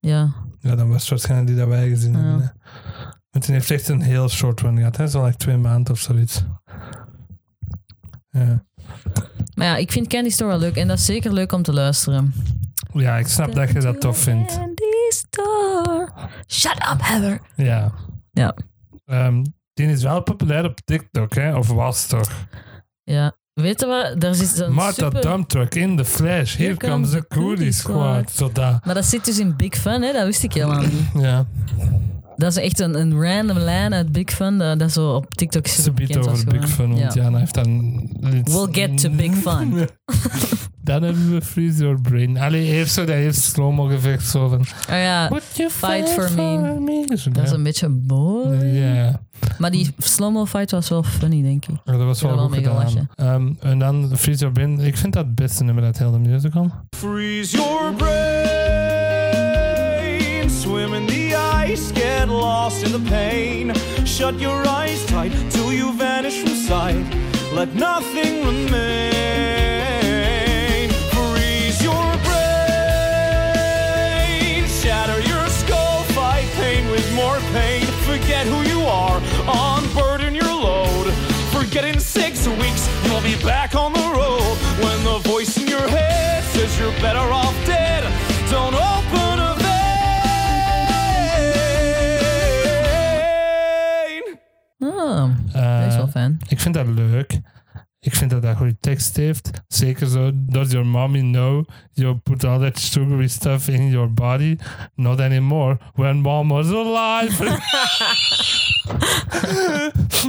S2: Ja.
S1: Ja, dan was het waarschijnlijk die dat wij gezien
S2: Ja.
S1: hebben. hè. Want die heeft echt een heel short run gehad. hè. Zo'n like twee maanden of zoiets. Ja.
S2: Maar ja, ik vind Candy Store wel leuk. En dat is zeker leuk om te luisteren.
S1: ja, ik snap dat je dat tof vindt.
S2: Candy Store. Shut up, Heather.
S1: Ja.
S2: Ja.
S1: Ehm, die is wel populair op TikTok, hè? Of was toch?
S2: Ja. Weet je wat? Daar zit een
S1: Martha
S2: super...
S1: Dump Truck in the flash. Here, comes the Coolie Squad. Zo daar.
S2: Maar dat zit dus in Big Fun, hè? Dat wist ik helemaal niet.
S1: Ja,
S2: Dat is echt een, een random line uit Big Fun. Dat, dat zo op TikTok is
S1: ze biedt
S2: bekend als
S1: over Big
S2: gewoon-
S1: Fun, want
S2: ja.
S1: Jana heeft dan...
S2: We'll get to Big Fun.
S1: dan hebben we Freeze Your Brain. Allee, eerst zo dat eerste slow-mo gevecht zo van...
S2: Oh ja,
S1: Would you
S2: Fight for me.
S1: Zo,
S2: dat is
S1: ja.
S2: een beetje boor.
S1: Ja,
S2: Maar die slow-mo fight was wel funny, denk ik.
S1: dat was wel
S2: wel
S1: goed
S2: mee
S1: gedaan.
S2: gelachen.
S1: Ehm, en dan Freeze Your Brain. Ik vind dat het beste nummer uit heel de musical.
S4: Freeze your brain. Swim in the ice, get lost in the pain. Shut your eyes tight till you vanish from sight. Let nothing remain. Freeze your brain. Shatter your skull, fight pain with more pain. Forget who you are, unburden your load. Forget in six weeks, you'll be back on the road. When the voice in your head says you're better off dead, don't open a vein.
S2: Ah,
S1: Eh,
S2: dat is wel fijn.
S1: Ik vind dat leuk. Ik vind dat dat goede tekst heeft. Zeker zo. Does your mommy know you put all that sugary stuff in your body? Not anymore. When mom was alive.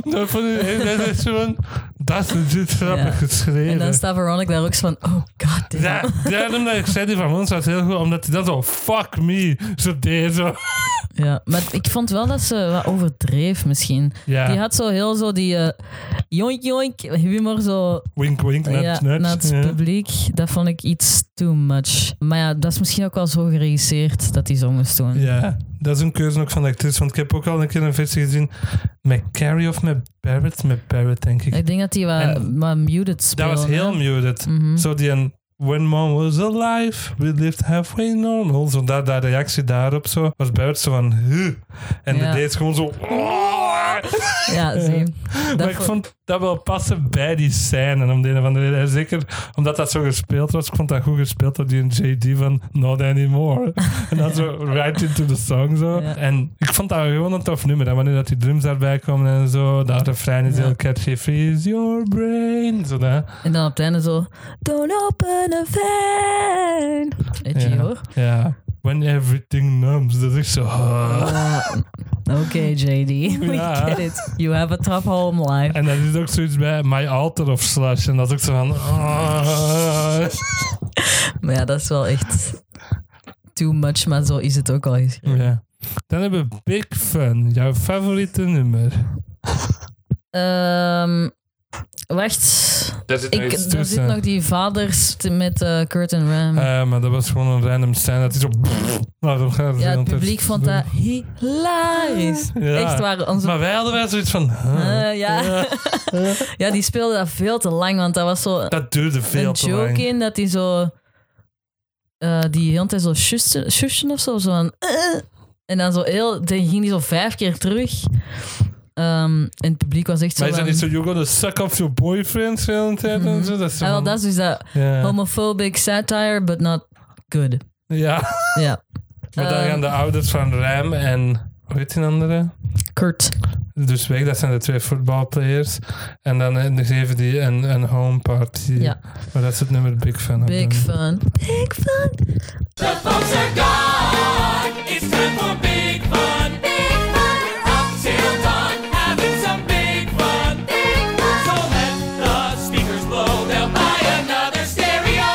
S1: dat vond ik dat is gewoon. Dat is legit grappig
S2: Ja.
S1: geschreven.
S2: En dan staat Veronica daar ook zo van, oh god. dit-
S1: Ja, daarom dat ik zei die van ons was heel goed, omdat hij dat zo fuck me zo deed. Zo.
S2: Ja, maar ik vond wel dat ze wat overdreef misschien.
S1: Ja.
S2: Die had zo heel zo die eh joink joink humor zo
S1: Wink, wink, net,
S2: ja,
S1: net.
S2: naar het
S1: ja.
S2: publiek. Dat vond ik iets too much. Maar ja, dat is misschien ook wel zo geregisseerd dat die zo moest doen.
S1: Ja, dat is een keuze ook van de actrice. Want ik heb ook al een keer een versie gezien met Carrie of met Barrett. Met Barrett, denk ik.
S2: Ik denk dat die wat,
S1: En-
S2: wat muted
S1: dat
S2: speelde.
S1: was heel
S2: hè?
S1: muted.
S2: Mhm.
S1: Zo die een... When mom was alive, we lived halfway normal. Zo dat, dat reactie daarop zo. Was Barrett zo van... Huh. En
S2: Ja.
S1: de deed gewoon zo... "Oh!"
S2: Ja, zie.
S1: maar
S2: Dat
S1: ik
S2: vo-
S1: vond dat wel passen bij die scène. Om de een of andere reden. En Zeker omdat dat zo gespeeld was. Ik vond dat goed gespeeld door die JD van Not Anymore. en dan zo right into the song zo.
S2: Ja.
S1: En ik vond dat gewoon een tof nummer. En wanneer dat die drums daarbij komen en zo. Dat refrein is
S2: Ja.
S1: heel catchy. Freeze your brain. Zo dat.
S2: En dan op het einde zo... Don't open a vein. Edgy
S1: Ja.
S2: hoor.
S1: Ja. When everything numbs. Dat is echt zo... ah.
S2: Ah, Oké, JD. We
S1: Ja.
S2: get it. You have a tough home life.
S1: En dat is ook zoiets bij My Altar of Slash. En dat is ook zo van... ah.
S2: Maar ja, dat is wel echt too much, maar zo is het ook al geschreven.
S1: Ja. Dan hebben we Big Fun, jouw favoriete nummer.
S2: Ehm, wacht.
S1: Daar zit
S2: Ik, er zit nog die vaders te- met eh, Kurt en Ram.
S1: Ah, maar dat was gewoon een random scène. Dat is zo... Nou, dat gaat
S2: ja, het
S1: veel te-
S2: publiek vond dat hilarisch.
S1: Ja. Ah.
S2: Echt waar. Onze,
S1: Maar wij hadden wel zoiets van... huh?
S2: Eh, ja. ja, die speelde dat veel te lang, want dat was zo
S1: Dat duurde veel
S2: een
S1: te
S2: joke
S1: lang.
S2: in dat hij zo. eh, die heel de tijd zo shusten shusten of zo. zo van, eh. en dan zo heel. Dan ging die zo vijf keer terug. Ehm, en het publiek was echt zo.
S1: Maar is dat
S2: van-
S1: niet zo... You're gonna suck off your boyfriend de hele tijd en zo? Dat is zo
S2: Ah, wel,
S1: van-
S2: dat is dus dat
S1: Ja.
S2: homophobic satire, but not good.
S1: Ja.
S2: Ja.
S1: Maar dan
S2: Ehm.
S1: gaan de ouders van Ram en... Hoe heet die andere?
S2: Kurt.
S1: Dus weg, dat zijn de twee voetbalplayers. En dan eh, geven die een, een home party.
S2: Ja.
S1: Maar dat is het nummer Big Fun. op
S2: Big
S1: hun.
S2: fun. Big fun.
S3: The folks are gone. It's time for big fun. Big fun. We're up till dawn, having some big fun. Big fun. So let the speakers blow. They'll buy another stereo.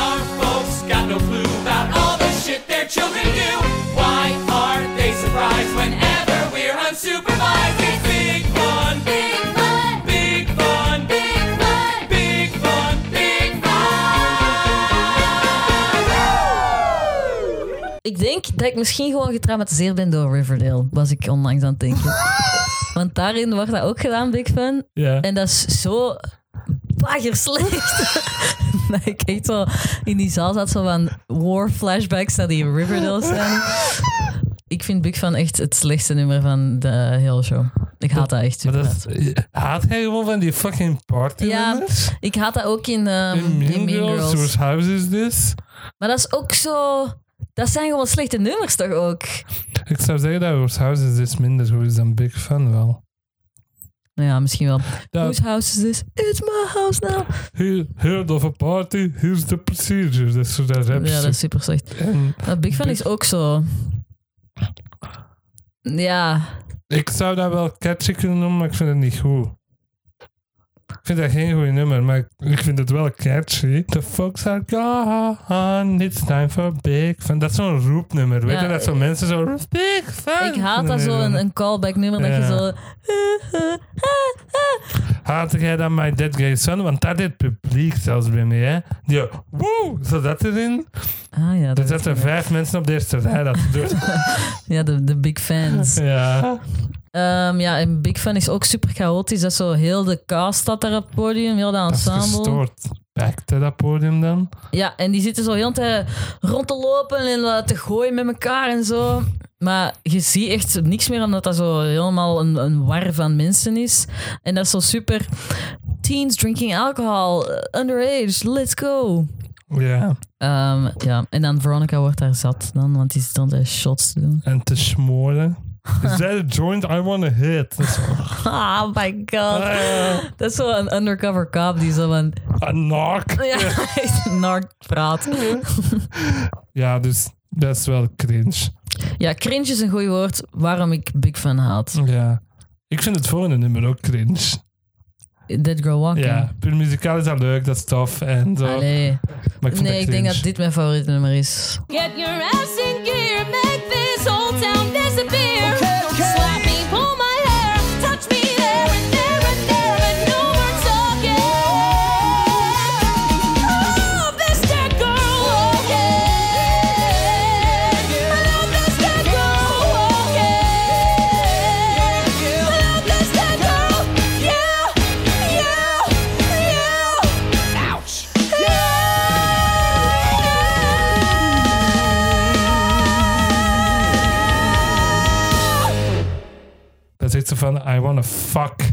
S3: Our folks got no clue about all the shit their children do. Why aren't they surprised whenever we're unsupervised? It's big fun. Big fun. Big fun. Big fun. Big fun. Big fun.
S2: Ik denk dat ik misschien gewoon getraumatiseerd ben door Riverdale. Was ik onlangs aan het denken. Want daarin wordt dat ook gedaan, Big Fun.
S1: Ja.
S2: En dat is zo baggerslecht. dat ik echt zo in die zaal zat zo van war flashbacks naar die Riverdale zijn. Ik vind Big Fun echt het slechtste nummer van de hele show. Ik haat dat echt.
S1: Maar dat
S2: superhard.
S1: is, haat jij gewoon van die fucking party
S2: Ja,
S1: nummers?
S2: Ik haat dat ook in, ehm,
S1: In Mean Girls, whose house is dus. this?
S2: Maar dat is ook zo... Dat zijn gewoon slechte nummers toch ook?
S1: Ik zou zeggen dat whose house is this minder goed is dan Big Fun wel.
S2: Nou ja, misschien wel.
S1: Dat,
S2: Whose house is this? It's my house now.
S1: here, heard of a party, here's the procedure. Dat is zo dat rap
S2: Ja, dat is super slecht.
S1: En
S2: Maar Big Fun
S1: Big-
S2: is ook zo... Ja,
S1: Ik zou dat wel catchy kunnen noemen, maar ik vind het niet goed. Ik vind dat geen goed nummer, maar ik- ik vind het wel catchy. The folks are gone, it's time for big fun. Dat is zo'n roepnummer, weet
S2: Ja,
S1: je? Dat zo mensen zo, big fun.
S2: Ik haat dat zo, een, een callback nummer dat je
S1: Ja.
S2: zo... eh,
S1: Haatte jij dan My Dead Gay Son? Want dat deed het publiek zelfs bij mij, hè. Die, woe, zat dat erin?
S2: Ah ja,
S1: Er
S2: dat
S1: zaten vijf mensen op de eerste rij, dat doet.
S2: ja de, de big fans.
S1: ja.
S2: Ehm, ja, en Big Fan is ook super chaotisch. Dat is zo heel de cast staat daar op het podium, heel dat
S1: Dat is
S2: ensemble.
S1: gestoord. Pakte dat podium dan?
S2: Ja, en die zitten zo heel de tijd rond te lopen en eh, te gooien met elkaar en zo. Maar je ziet echt niks meer, omdat dat zo helemaal een, een war van mensen is. En dat is zo super... Teens drinking alcohol, eh, underage, let's go.
S1: Ja.
S2: Ehm, ja, en dan Veronica wordt daar zat dan, want die zit dan de shots te doen.
S1: en te smoren. Is that a joint I want to hit? Dat is zo,
S2: Oh my god.
S1: eh,
S2: Dat is zo een undercover cop die zo van...
S1: een knock.
S2: Ja, hij is een narc praat.
S1: Ja, dus dat is wel cringe.
S2: Ja, cringe is een goed woord waarom ik Big Fan haat.
S1: Ja. Ik vind het volgende nummer ook cringe.
S2: Dead Girl Walking.
S1: Ja, puur muzikaal is dat leuk, dat is tof en zo.
S2: Allee.
S1: Maar ik vond dat
S2: Nee, ik denk
S1: cringe.
S2: dat dit mijn favoriete nummer is.
S3: Get your ass in gear, make this whole town dizzy.
S1: teksten van I wanna fuck. I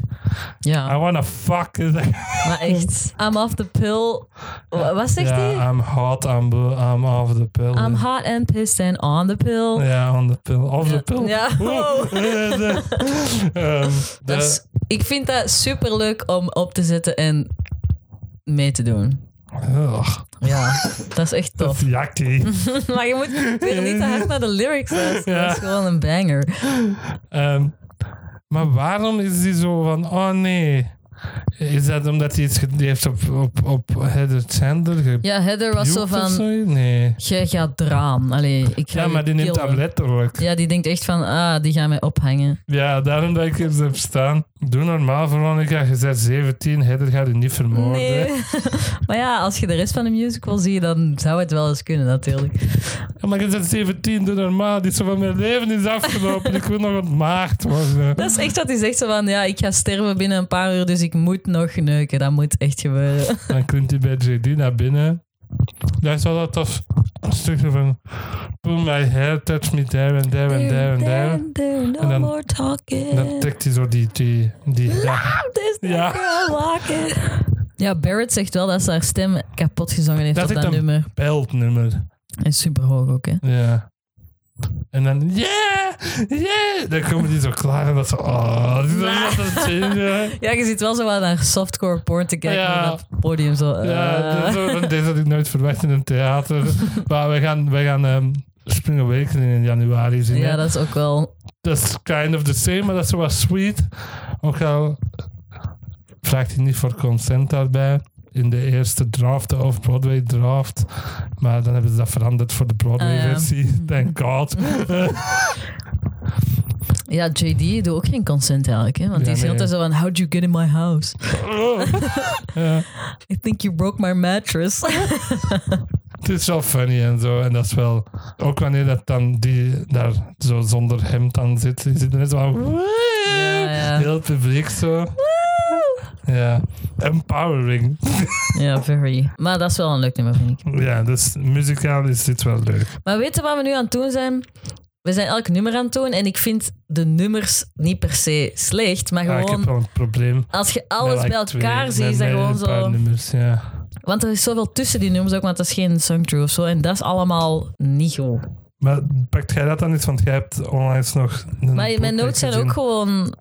S2: Ja,
S1: wanna fuck. is echt-
S2: maar echt. I'm off the pill. Wa- Wat zegt hij?
S1: Ja, I'm hot, I'm, bo- I'm off the pill.
S2: I'm hot and pissed and on the pill.
S1: Ja, on the pill. Off the pill.
S2: Ja, Oh. wow.
S1: Oeh. Ehm, de-
S2: Dus ik vind dat super leuk om op te zetten en mee te doen.
S1: Ugh,
S2: Ja, dat is echt
S1: dat is
S2: tof.
S1: yucky.
S2: Maar je moet weer niet te hard naar de lyrics luisteren.
S1: Ja.
S2: Dat is gewoon een banger.
S1: Ehm, maar waarom is hij zo van, oh nee. Is dat omdat hij iets ge- die heeft op, op, op Heather Chandler gepukt
S2: Ja, Heather was zo
S1: of
S2: van,
S1: zoiets? Nee.
S2: jij gaat draan. Allee, ik ga
S1: Ja,
S2: je
S1: maar die neemt
S2: killen.
S1: tabletten ook.
S2: Ja, die denkt echt van, ah, die gaan mij ophangen.
S1: Ja, daarom dat ik hier heb staan. Doe normaal, Veronica. Je bent 17. Heather gaat je niet vermoorden.
S2: Nee. maar ja, als je de rest van de musical ziet, dan zou het wel eens kunnen natuurlijk.
S1: Ja, maar je bent 17. Doe normaal. Die is zo van mijn leven is afgelopen. ik wil nog ontmaagd worden.
S2: Dat is echt wat hij zegt, zo van, ja, ik ga sterven binnen een paar uur, dus ik moet nog neuken. Dat moet echt gebeuren.
S1: Dan klimt hij bij JD naar binnen. Daar is wel dat tof stukje van... Pull my hair, touch me there and there and there and there.
S2: no
S1: En dan-
S2: more
S1: En dan
S2: talking.
S1: trekt hij zo die... die, die ja,
S2: This
S1: Ja.
S2: girl walking. Ja, Barrett zegt wel dat ze haar stem kapot gezongen heeft
S1: Dat
S2: op
S1: ik
S2: dat
S1: dan-
S2: nummer.
S1: beltnummer.
S2: En super hoog ook, hè.
S1: Ja. En dan... Yeah! Yeah! Dan komen die zo klaar en dat ze... Oh, die zijn wat aan het zingen.
S2: Ja, je zit wel zo wat naar softcore porn te kijken
S1: Ja.
S2: op dat podium. Zo,
S1: Ja,
S2: eh.
S1: dit is ook een- dit had ik nooit verwacht in een theater. maar we gaan, we gaan ehm, Spring Awakening in januari zien.
S2: ja,
S1: hè.
S2: dat is ook wel...
S1: Dat is kind of the same, maar dat is wel sweet. Ook al vraagt hij niet voor consent daarbij. In de eerste draft, de off-Broadway draft. Maar dan hebben ze dat veranderd voor de Broadway-versie. Thank God.
S2: Ja, JD doet ook geen consent eigenlijk, hè. Want
S1: Ja,
S2: die is
S1: nee.
S2: altijd zo van, how'd you get in my house?
S1: ja,
S2: I think you broke my mattress.
S1: het is wel funny en zo. En dat is wel... Ook wanneer dat dan die daar zo zonder hemd aan zit. Die zit er net zo aan...
S2: Ja, ja.
S1: Heel het publiek zo. Ja. Empowering.
S2: ja, very. Maar dat is wel een leuk nummer, vind ik.
S1: Ja, dus muzikaal is dit wel leuk.
S2: Maar weet je wat we nu aan het doen zijn? We zijn elk nummer aan het doen en ik vind de nummers niet per se slecht, maar
S1: Ja, Ah, ik
S2: gewoon
S1: heb wel een probleem.
S2: als je alles
S1: Met,
S2: bij
S1: like,
S2: elkaar
S1: twee-
S2: ziet, is
S1: met-
S2: dat
S1: met
S2: gewoon
S1: een paar
S2: zo.
S1: Nummers, ja.
S2: Want er is zoveel tussen die nummers ook, want dat is geen songtrue of zo en dat is allemaal niet goed.
S1: Maar pakt jij dat dan niet? Want jij hebt onlangs nog. Een
S2: Maar mijn
S1: boek
S2: notes zijn
S1: gezien.
S2: ook gewoon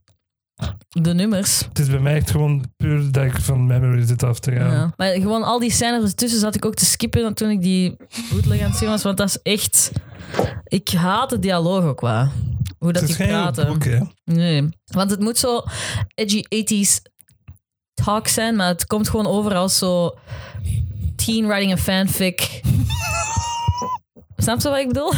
S2: de nummers.
S1: Het is bij mij echt gewoon puur dat ik van memory zit af te gaan.
S2: Ja. Maar gewoon al die scènes ertussen zat ik ook te skippen toen ik die bootleg aan het zien was, want dat is echt... Ik haat de dialoog ook wel. Hoe dat
S1: het is
S2: die
S1: geen
S2: praten.
S1: boek, hè?
S2: Nee, want het moet zo edgy 80s talk zijn, maar het komt gewoon over als zo teen writing een fanfic. Snap je wat ik bedoel?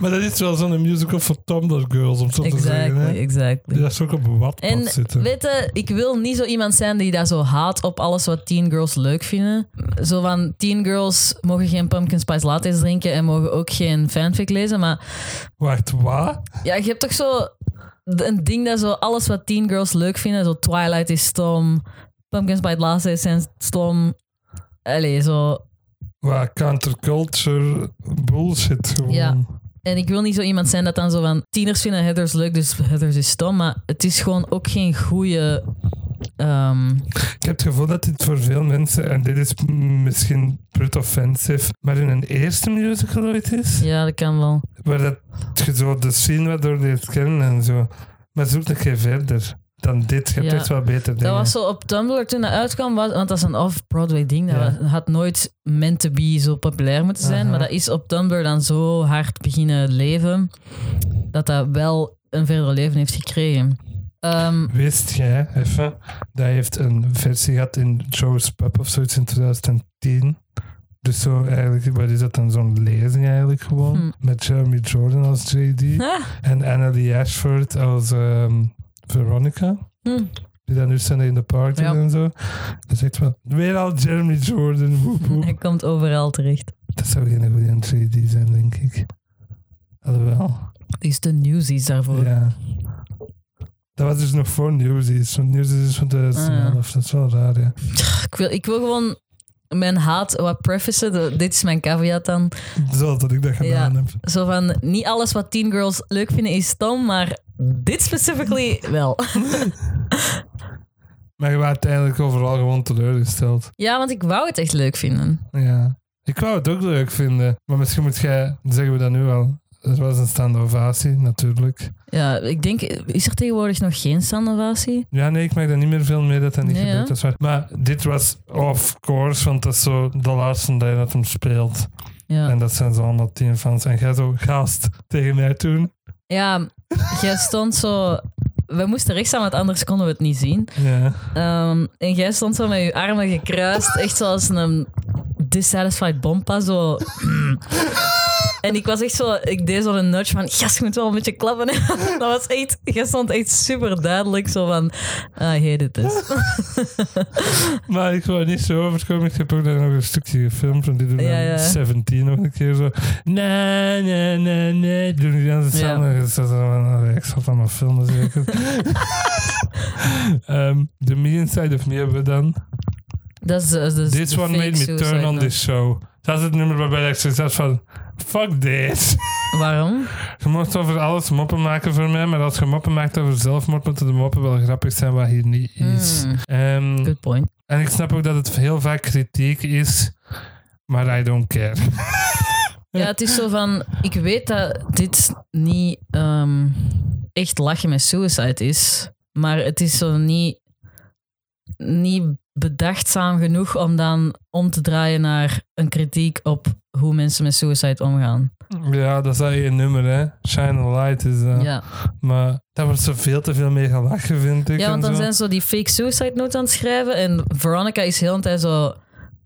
S1: Maar dat is wel zo'n musical voor Tumblr girls, om zo te zeggen.
S2: exactly,
S1: Hè?
S2: exactly.
S1: Die dat is ook op wat
S2: En
S1: zitten.
S2: weet je, ik wil niet zo iemand zijn die dat zo haat op alles wat teen girls leuk vinden. Zo van teen girls mogen geen pumpkin spice lattes drinken en mogen ook geen fanfic lezen, maar
S1: Wacht, wat?
S2: Ja, je hebt toch zo een ding dat zo alles wat teen girls leuk vinden, zo Twilight is stom, Pumpkins by Lattes zijn stom. Allee, zo.
S1: Wat counterculture bullshit gewoon.
S2: Ja. En ik wil niet zo iemand zijn dat dan zo van tieners vinden Heathers leuk, dus Heathers is stom, maar het is gewoon ook geen ehm, goede.
S1: Ik heb het gevoel dat dit voor veel mensen, en dit is m- misschien brut offensive, maar in een eerste musical ooit is.
S2: ja, dat kan wel.
S1: Waar dat je zo de scene wat door leert kennen en zo. Maar zoek een keer verder dan dit. Je hebt
S2: Ja.
S1: echt wel beter dingen.
S2: Dat was zo op Tumblr toen dat uitkwam, was, want dat is een off-Broadway ding. Dat
S1: Ja.
S2: was- had nooit meant to be zo populair moeten zijn.
S1: Aha.
S2: Maar dat is op Tumblr dan zo hard beginnen leven, dat dat wel een verder leven heeft gekregen. Ehm,
S1: Wist jij, even, dat heeft een versie gehad in Joe's Pub of zoiets in 2010. Dus zo eigenlijk, wat is dat dan? Zo'n lezing eigenlijk gewoon.
S2: Hm.
S1: Met Jeremy Jordan als JD
S2: ah,
S1: en Annalie Ashford als ehm, Veronica.
S2: hm.
S1: Die dan nu Sunday in the Park doen
S2: Ja.
S1: en zo. Dat is echt wel... Weer al Jeremy Jordan. Woep, woep.
S2: Hij komt overal terecht.
S1: Dat zou geen goede entry die zijn, denk ik. Alhoewel,
S2: Die is de newsies daarvoor.
S1: ja. Dat was dus nog voor Newsies. Want Newsies is van 2011.
S2: Ah, ja.
S1: Dat is wel raar, ja.
S2: Ik, wil, ik wil gewoon mijn haat wat prefacen. De- dit is mijn caveat dan.
S1: Zo dat ik dat gedaan
S2: Ja,
S1: heb.
S2: zo van, niet alles wat teen girls leuk vinden is stom, maar dit specifically wel.
S1: Maar je werd uiteindelijk overal gewoon teleurgesteld.
S2: Ja, want ik wou het echt leuk vinden.
S1: Ja. Ik wou het ook leuk vinden. Maar misschien moet jij, zeggen we dat nu wel. Er was een staande ovatie, natuurlijk.
S2: Ja, ik denk, is er tegenwoordig nog geen standovatie?
S1: Ja, nee, ik maak daar niet meer veel mee dat dat niet
S2: Nee,
S1: gebeurt.
S2: hè?
S1: Dat is waar. Maar dit was of course, want dat is zo de laatste dag dat hem speelt.
S2: Ja.
S1: En dat zijn zo allemaal tien fans. En jij zo, gast, tegen mij toen.
S2: Ja, jij stond zo. We moesten rechtstaan, want anders konden we het niet zien.
S1: Ja.
S2: Ehm, en jij stond zo met je armen gekruist, echt zoals een dissatisfied bompa. Zo. En ik was echt zo, ik deed zo een nudge van, yes, je moet wel een beetje klappen. Dat was echt, jij stond echt super duidelijk zo van, ah, hey, dit is.
S1: Maar ik wou niet zo overkomen. Ik heb ook daar nog een stukje gefilmd. Want die doen
S2: Ja,
S1: dan
S2: ja.
S1: 17 nog een keer zo. Nee, nee, nee, nee. Doen die dan zo
S2: Ja.
S1: samen. Ik zat zo van, "Allee, Ik zat allemaal filmen zeker. Ehm, the Me Inside of Me hebben we dan.
S2: Dat is, dat is
S1: This
S2: de
S1: one
S2: fake
S1: made me
S2: suicide
S1: turn on
S2: note.
S1: this show. Dat is het nummer waarbij ik zoiets had van... Fuck this.
S2: Waarom?
S1: Je mocht over alles moppen maken voor mij, maar als je moppen maakt over zelfmoord, moeten de moppen wel grappig zijn wat hier niet is.
S2: Hmm,
S1: Ehm,
S2: good point.
S1: en ik snap ook dat het heel vaak kritiek is, maar I don't care.
S2: Ja, het is zo van, ik weet dat dit niet ehm, echt lachen met suicide is, maar het is zo niet, niet bedachtzaam genoeg om dan om te draaien naar een kritiek op hoe mensen met suicide omgaan.
S1: ja, dat is dat één nummer, hè. Shine a light is dat.
S2: Ja,
S1: Maar daar wordt zo veel te veel mee gelachen, vind ik.
S2: ja want
S1: en
S2: dan
S1: zo.
S2: zijn ze zo die fake suicide notes aan het schrijven en Veronica is heel de tijd zo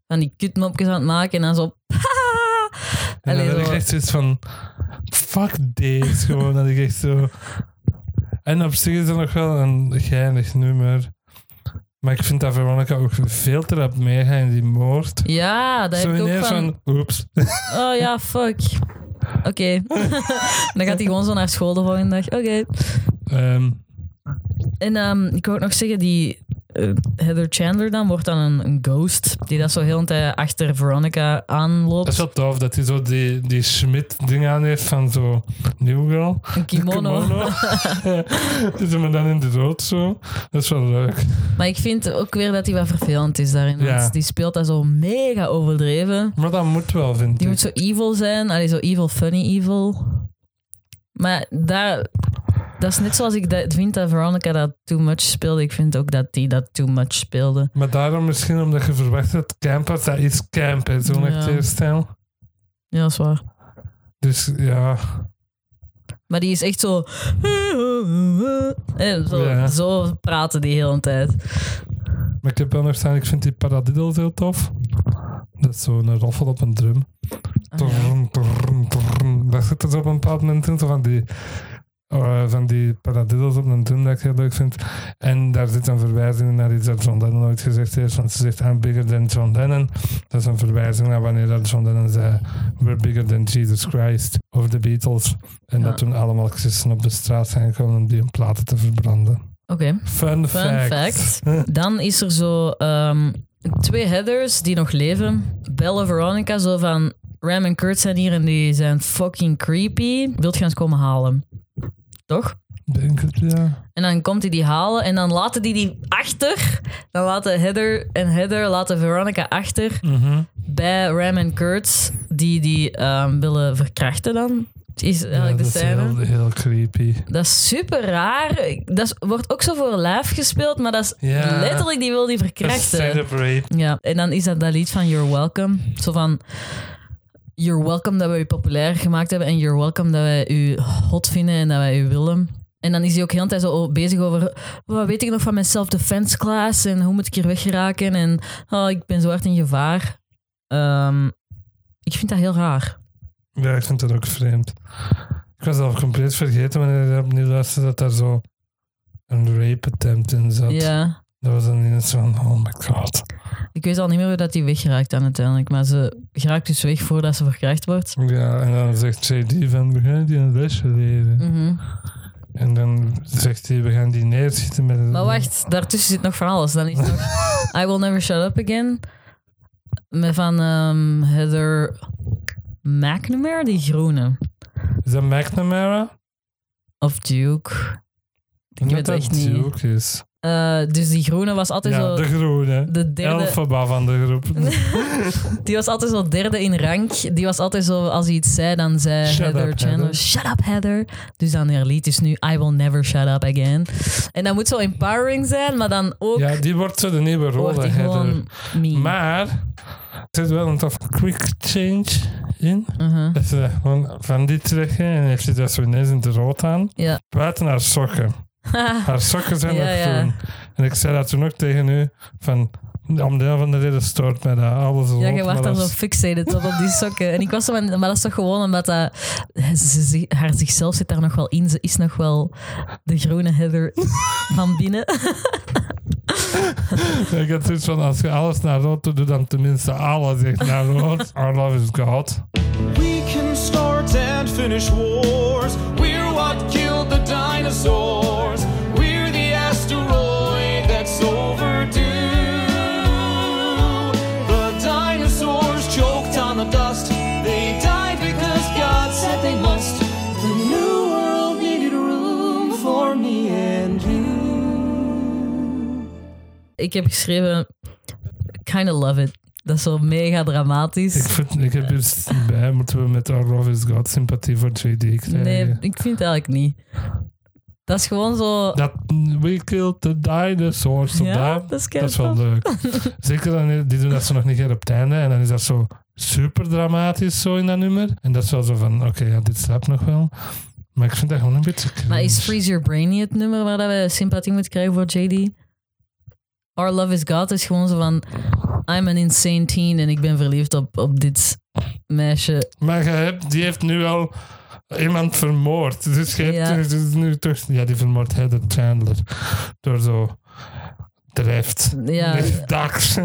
S2: van die kutmopjes aan het maken en dan zo...
S1: En dan
S2: Allee,
S1: heb ik
S2: zo-
S1: echt zoiets van... Fuck this, gewoon. Dat ik echt zo... En op zich is dat nog wel een geinig nummer. Maar ik vind dat Veronica ook veel te rap meegaat in die moord.
S2: Ja, dat
S1: Zo
S2: heb ik ook
S1: ineens
S2: van...
S1: van... Oeps.
S2: Oh ja, fuck. Oké. dan gaat hij gewoon zo naar school de volgende dag. Oké.
S1: Ehm,
S2: En ehm, ik wou ook nog zeggen, die eh, Heather Chandler dan wordt dan een, een ghost. Die dat zo heel een tijd achter Veronica aanloopt.
S1: dat is wel tof dat hij zo die, die Schmidt-ding aan heeft van zo... New Girl.
S2: een kimono.
S1: Die doen we dan in de rood zo. Dat is wel leuk.
S2: Maar ik vind ook weer dat hij wat vervelend is daarin. Want
S1: Ja.
S2: die speelt dat zo mega overdreven.
S1: Maar dat moet wel, vind
S2: Die
S1: ik.
S2: moet zo evil zijn. Allee, zo evil, funny evil. Maar daar... Dat is net zoals ik dat, vind dat Veronica dat too much speelde. Ik vind ook dat die dat too much speelde.
S1: Maar daarom misschien omdat je verwacht dat campers, dat is campen, zo'n
S2: Ja.
S1: acteerstijl.
S2: Ja, dat is waar.
S1: Dus ja,
S2: Maar die is echt zo. En zo,
S1: Ja.
S2: zo praten die heel een tijd.
S1: maar ik heb wel nog staan, ik vind die paradiddles heel tof. Dat is zo'n roffel op een drum.
S2: Ah,
S1: Trrrm, trrrm, trrrm. Daar zit er zo op een bepaald moment in, zo van die, eh, van die paradiddles op een drum dat ik heel leuk vind. En daar zit een verwijzing naar iets dat John Lennon nooit gezegd heeft, want ze zegt I'm bigger than John Lennon. Dat is een verwijzing naar wanneer dat John Lennon zei We're bigger than Jesus Christ of the Beatles. En
S2: Ja.
S1: dat toen allemaal christenen op de straat zijn gekomen om die hun platen te verbranden.
S2: Oké,
S1: Fun,
S2: fun
S1: fact.
S2: fact. Dan is er zo ehm, twee headers die nog leven. Belle Veronica zo van. Ram en Kurt zijn hier en die zijn fucking creepy. Wilt je eens komen halen? Toch?
S1: Denk het, ja.
S2: En dan komt hij die halen en dan laten die die achter. Dan laten Heather en Heather laten Veronica achter.
S1: Mhm.
S2: Bij Ram en Kurt, die die ehm, willen verkrachten dan. Is
S1: Ja,
S2: eigenlijk
S1: dat
S2: de
S1: is
S2: scène.
S1: heel, heel creepy.
S2: Dat is super raar. Ik- Dat is- wordt ook zo voor lijf gespeeld, maar dat is
S1: Ja.
S2: letterlijk die wil die verkrachten.
S1: Celebrate.
S2: Ja, en dan is dat dat lied van You're Welcome. Zo van... You're welcome dat wij u populair gemaakt hebben en you're welcome dat wij u hot vinden en dat wij u willen. En dan is hij ook heel de tijd zo bezig over wat weet ik nog van mijn self-defense class en hoe moet ik hier weggeraken en oh, ik ben zo hard in gevaar. Ehm, ik vind dat heel raar.
S1: Ja, ik vind dat ook vreemd. Ik was al compleet vergeten wanneer ik dat opnieuw luisterde dat daar zo een rape attempt in zat.
S2: Ja.
S1: Dat was dan ineens van, oh my god.
S2: Ik weet al niet meer hoe dat die weggeraakt aan uiteindelijk, maar ze geraakt dus weg voordat ze verkracht wordt.
S1: Ja, en dan zegt JD van, we gaan die een lesje leren.
S2: Mm. Mhm.
S1: En dan zegt hij, we gaan die neerschieten met een...
S2: Maar wacht, daartussen zit nog van alles. Dan is nog I Will Never Shut Up Again. Met van ehm, Heather McNamara, die groene.
S1: Is dat McNamara?
S2: Of Duke.
S1: Ik
S2: weet echt niet.
S1: Duke is.
S2: Eh, dus die groene was altijd
S1: Ja,
S2: zo...
S1: de groene.
S2: de derde-
S1: Elfaba van de groep.
S2: Die was altijd zo derde in rank. Die was altijd zo, als hij iets zei, dan zei
S1: Shut
S2: Heather
S1: up,
S2: Chandler,
S1: Heather.
S2: shut up Heather. Dus dan haar lied is nu, I will never shut up again. En dat moet zo empowering zijn, maar dan ook
S1: Ja, die wordt zo de nieuwe
S2: wordt
S1: rode
S2: hij
S1: header.
S2: gewoon mean.
S1: Maar er zit wel een tof quick change in.
S2: Mhm.
S1: Dat ze dat gewoon van dit trekken en heeft ze dat zo ineens in de rood aan.
S2: Ja.
S1: Buiten haar sokken. Haar sokken zijn
S2: Ja,
S1: nog
S2: ja.
S1: groen. En ik zei dat toen ook tegen u. Van, om de een van de reden stoort mij dat. Alles
S2: Ja,
S1: rood,
S2: je
S1: maar
S2: werd dan
S1: dat
S2: zo
S1: is-
S2: fixated op, op die sokken. En ik was zo van, maar dat is toch gewoon omdat dat, ze, ze- haar zichzelf zit daar nog wel in. Ze is nog wel de groene Heather van binnen.
S1: Ik had zoiets van, als je alles naar rood doet, doe dan tenminste alles echt naar rood. Our love is God.
S4: We can start and finish wars. We're what killed the dinosaurs. We're the asteroid that's overdue. The dinosaurs choked on the dust. They died because God said they must. The new world needed room for me and you.
S2: Ik heb geschreven, kind of love it. Dat is zo mega dramatisch.
S1: Ik, vind, ik heb hier s- bij, moeten we met Our love is God sympathie voor JD krijgen.
S2: Nee, ik vind het eigenlijk niet. Dat is gewoon zo.
S1: Dat We Killed the Dinosaurs. zo
S2: Ja,
S1: daar.
S2: dat is
S1: dat is wel leuk. Zeker, dan, eh, die doen dat ze nog niet keer op het einde. En dan is dat zo super dramatisch zo in dat nummer. En dat is wel zo van, oké, ja, dit slaapt nog wel. Maar ik vind dat gewoon een beetje
S2: Maar is
S1: cringe.
S2: Freeze Your Brain niet het nummer waar dat we sympathie moeten krijgen voor JD? Our Love is God is gewoon zo van. I'm an insane teen en ik ben verliefd op, op dit meisje.
S1: Maar je hebt, die heeft nu al iemand vermoord. Dus je hebt
S2: Ja.
S1: dus nu toch... Ja, die vermoord Heather Chandler. Door zo... Drijft.
S2: Ja.
S1: Dags.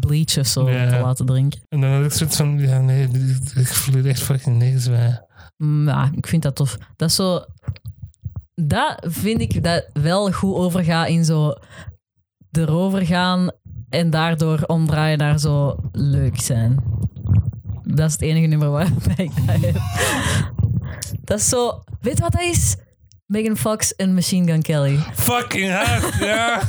S2: Bleach of zo
S1: Ja.
S2: te laten drinken.
S1: En dan had ik zoiets van... Ja, nee, ik voel hier echt fucking niks bij.
S2: Mm, Ja, ik vind dat tof. Dat is zo. Dat vind ik dat wel goed overgaat in zo. erover gaan en daardoor omdraaien naar zo leuk zijn. Dat is het enige nummer waarbij ik dat heb. Dat is zo. Weet je wat dat is? Megan Fox en Machine Gun Kelly.
S1: Fucking hard, ja.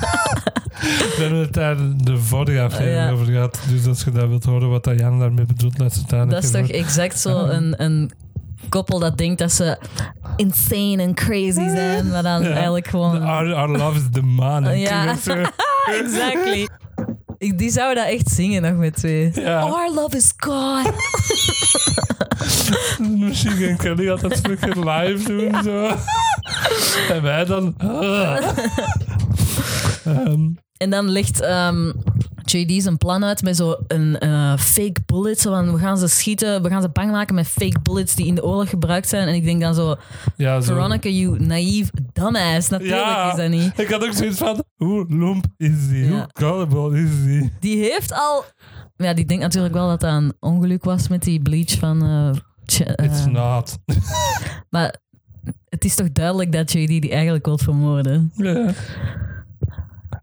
S1: We hebben het daar de vorige aflevering
S2: Ja.
S1: over gehad. Dus als je dat wilt horen wat dat Jan daarmee bedoelt, laat het daar
S2: Dat is toch exact zo een, een koppel dat denkt dat ze insane en crazy zijn, maar dan
S1: Ja.
S2: eigenlijk gewoon.
S1: Our, our love is the man.
S2: Ja. Exactly. Ik, die zou dat echt zingen nog met twee.
S1: Ja.
S2: Our love is God.
S1: Misschien kan Kelly altijd een stukje live doen. Zo. En wij dan... ah. Ehm,
S2: En dan legt ehm, JD zijn plan uit met zo'n een eh, fake bullet. Zo van, we gaan ze schieten, we gaan ze bang maken met fake bullets die in de oorlog gebruikt zijn. En ik denk dan zo,
S1: ja, zo.
S2: Veronica, you naïef dumbass. Natuurlijk
S1: Ja.
S2: is dat niet.
S1: Ik had ook zoiets van, hoe lomp is die? Hoe
S2: Ja.
S1: gullible is die?
S2: Die heeft al... Ja, die denkt natuurlijk wel dat dat een ongeluk was met die bleach van... eh, Ch-
S1: It's
S2: eh,
S1: not.
S2: maar het is toch duidelijk dat JD die eigenlijk wil vermoorden.
S1: Ja.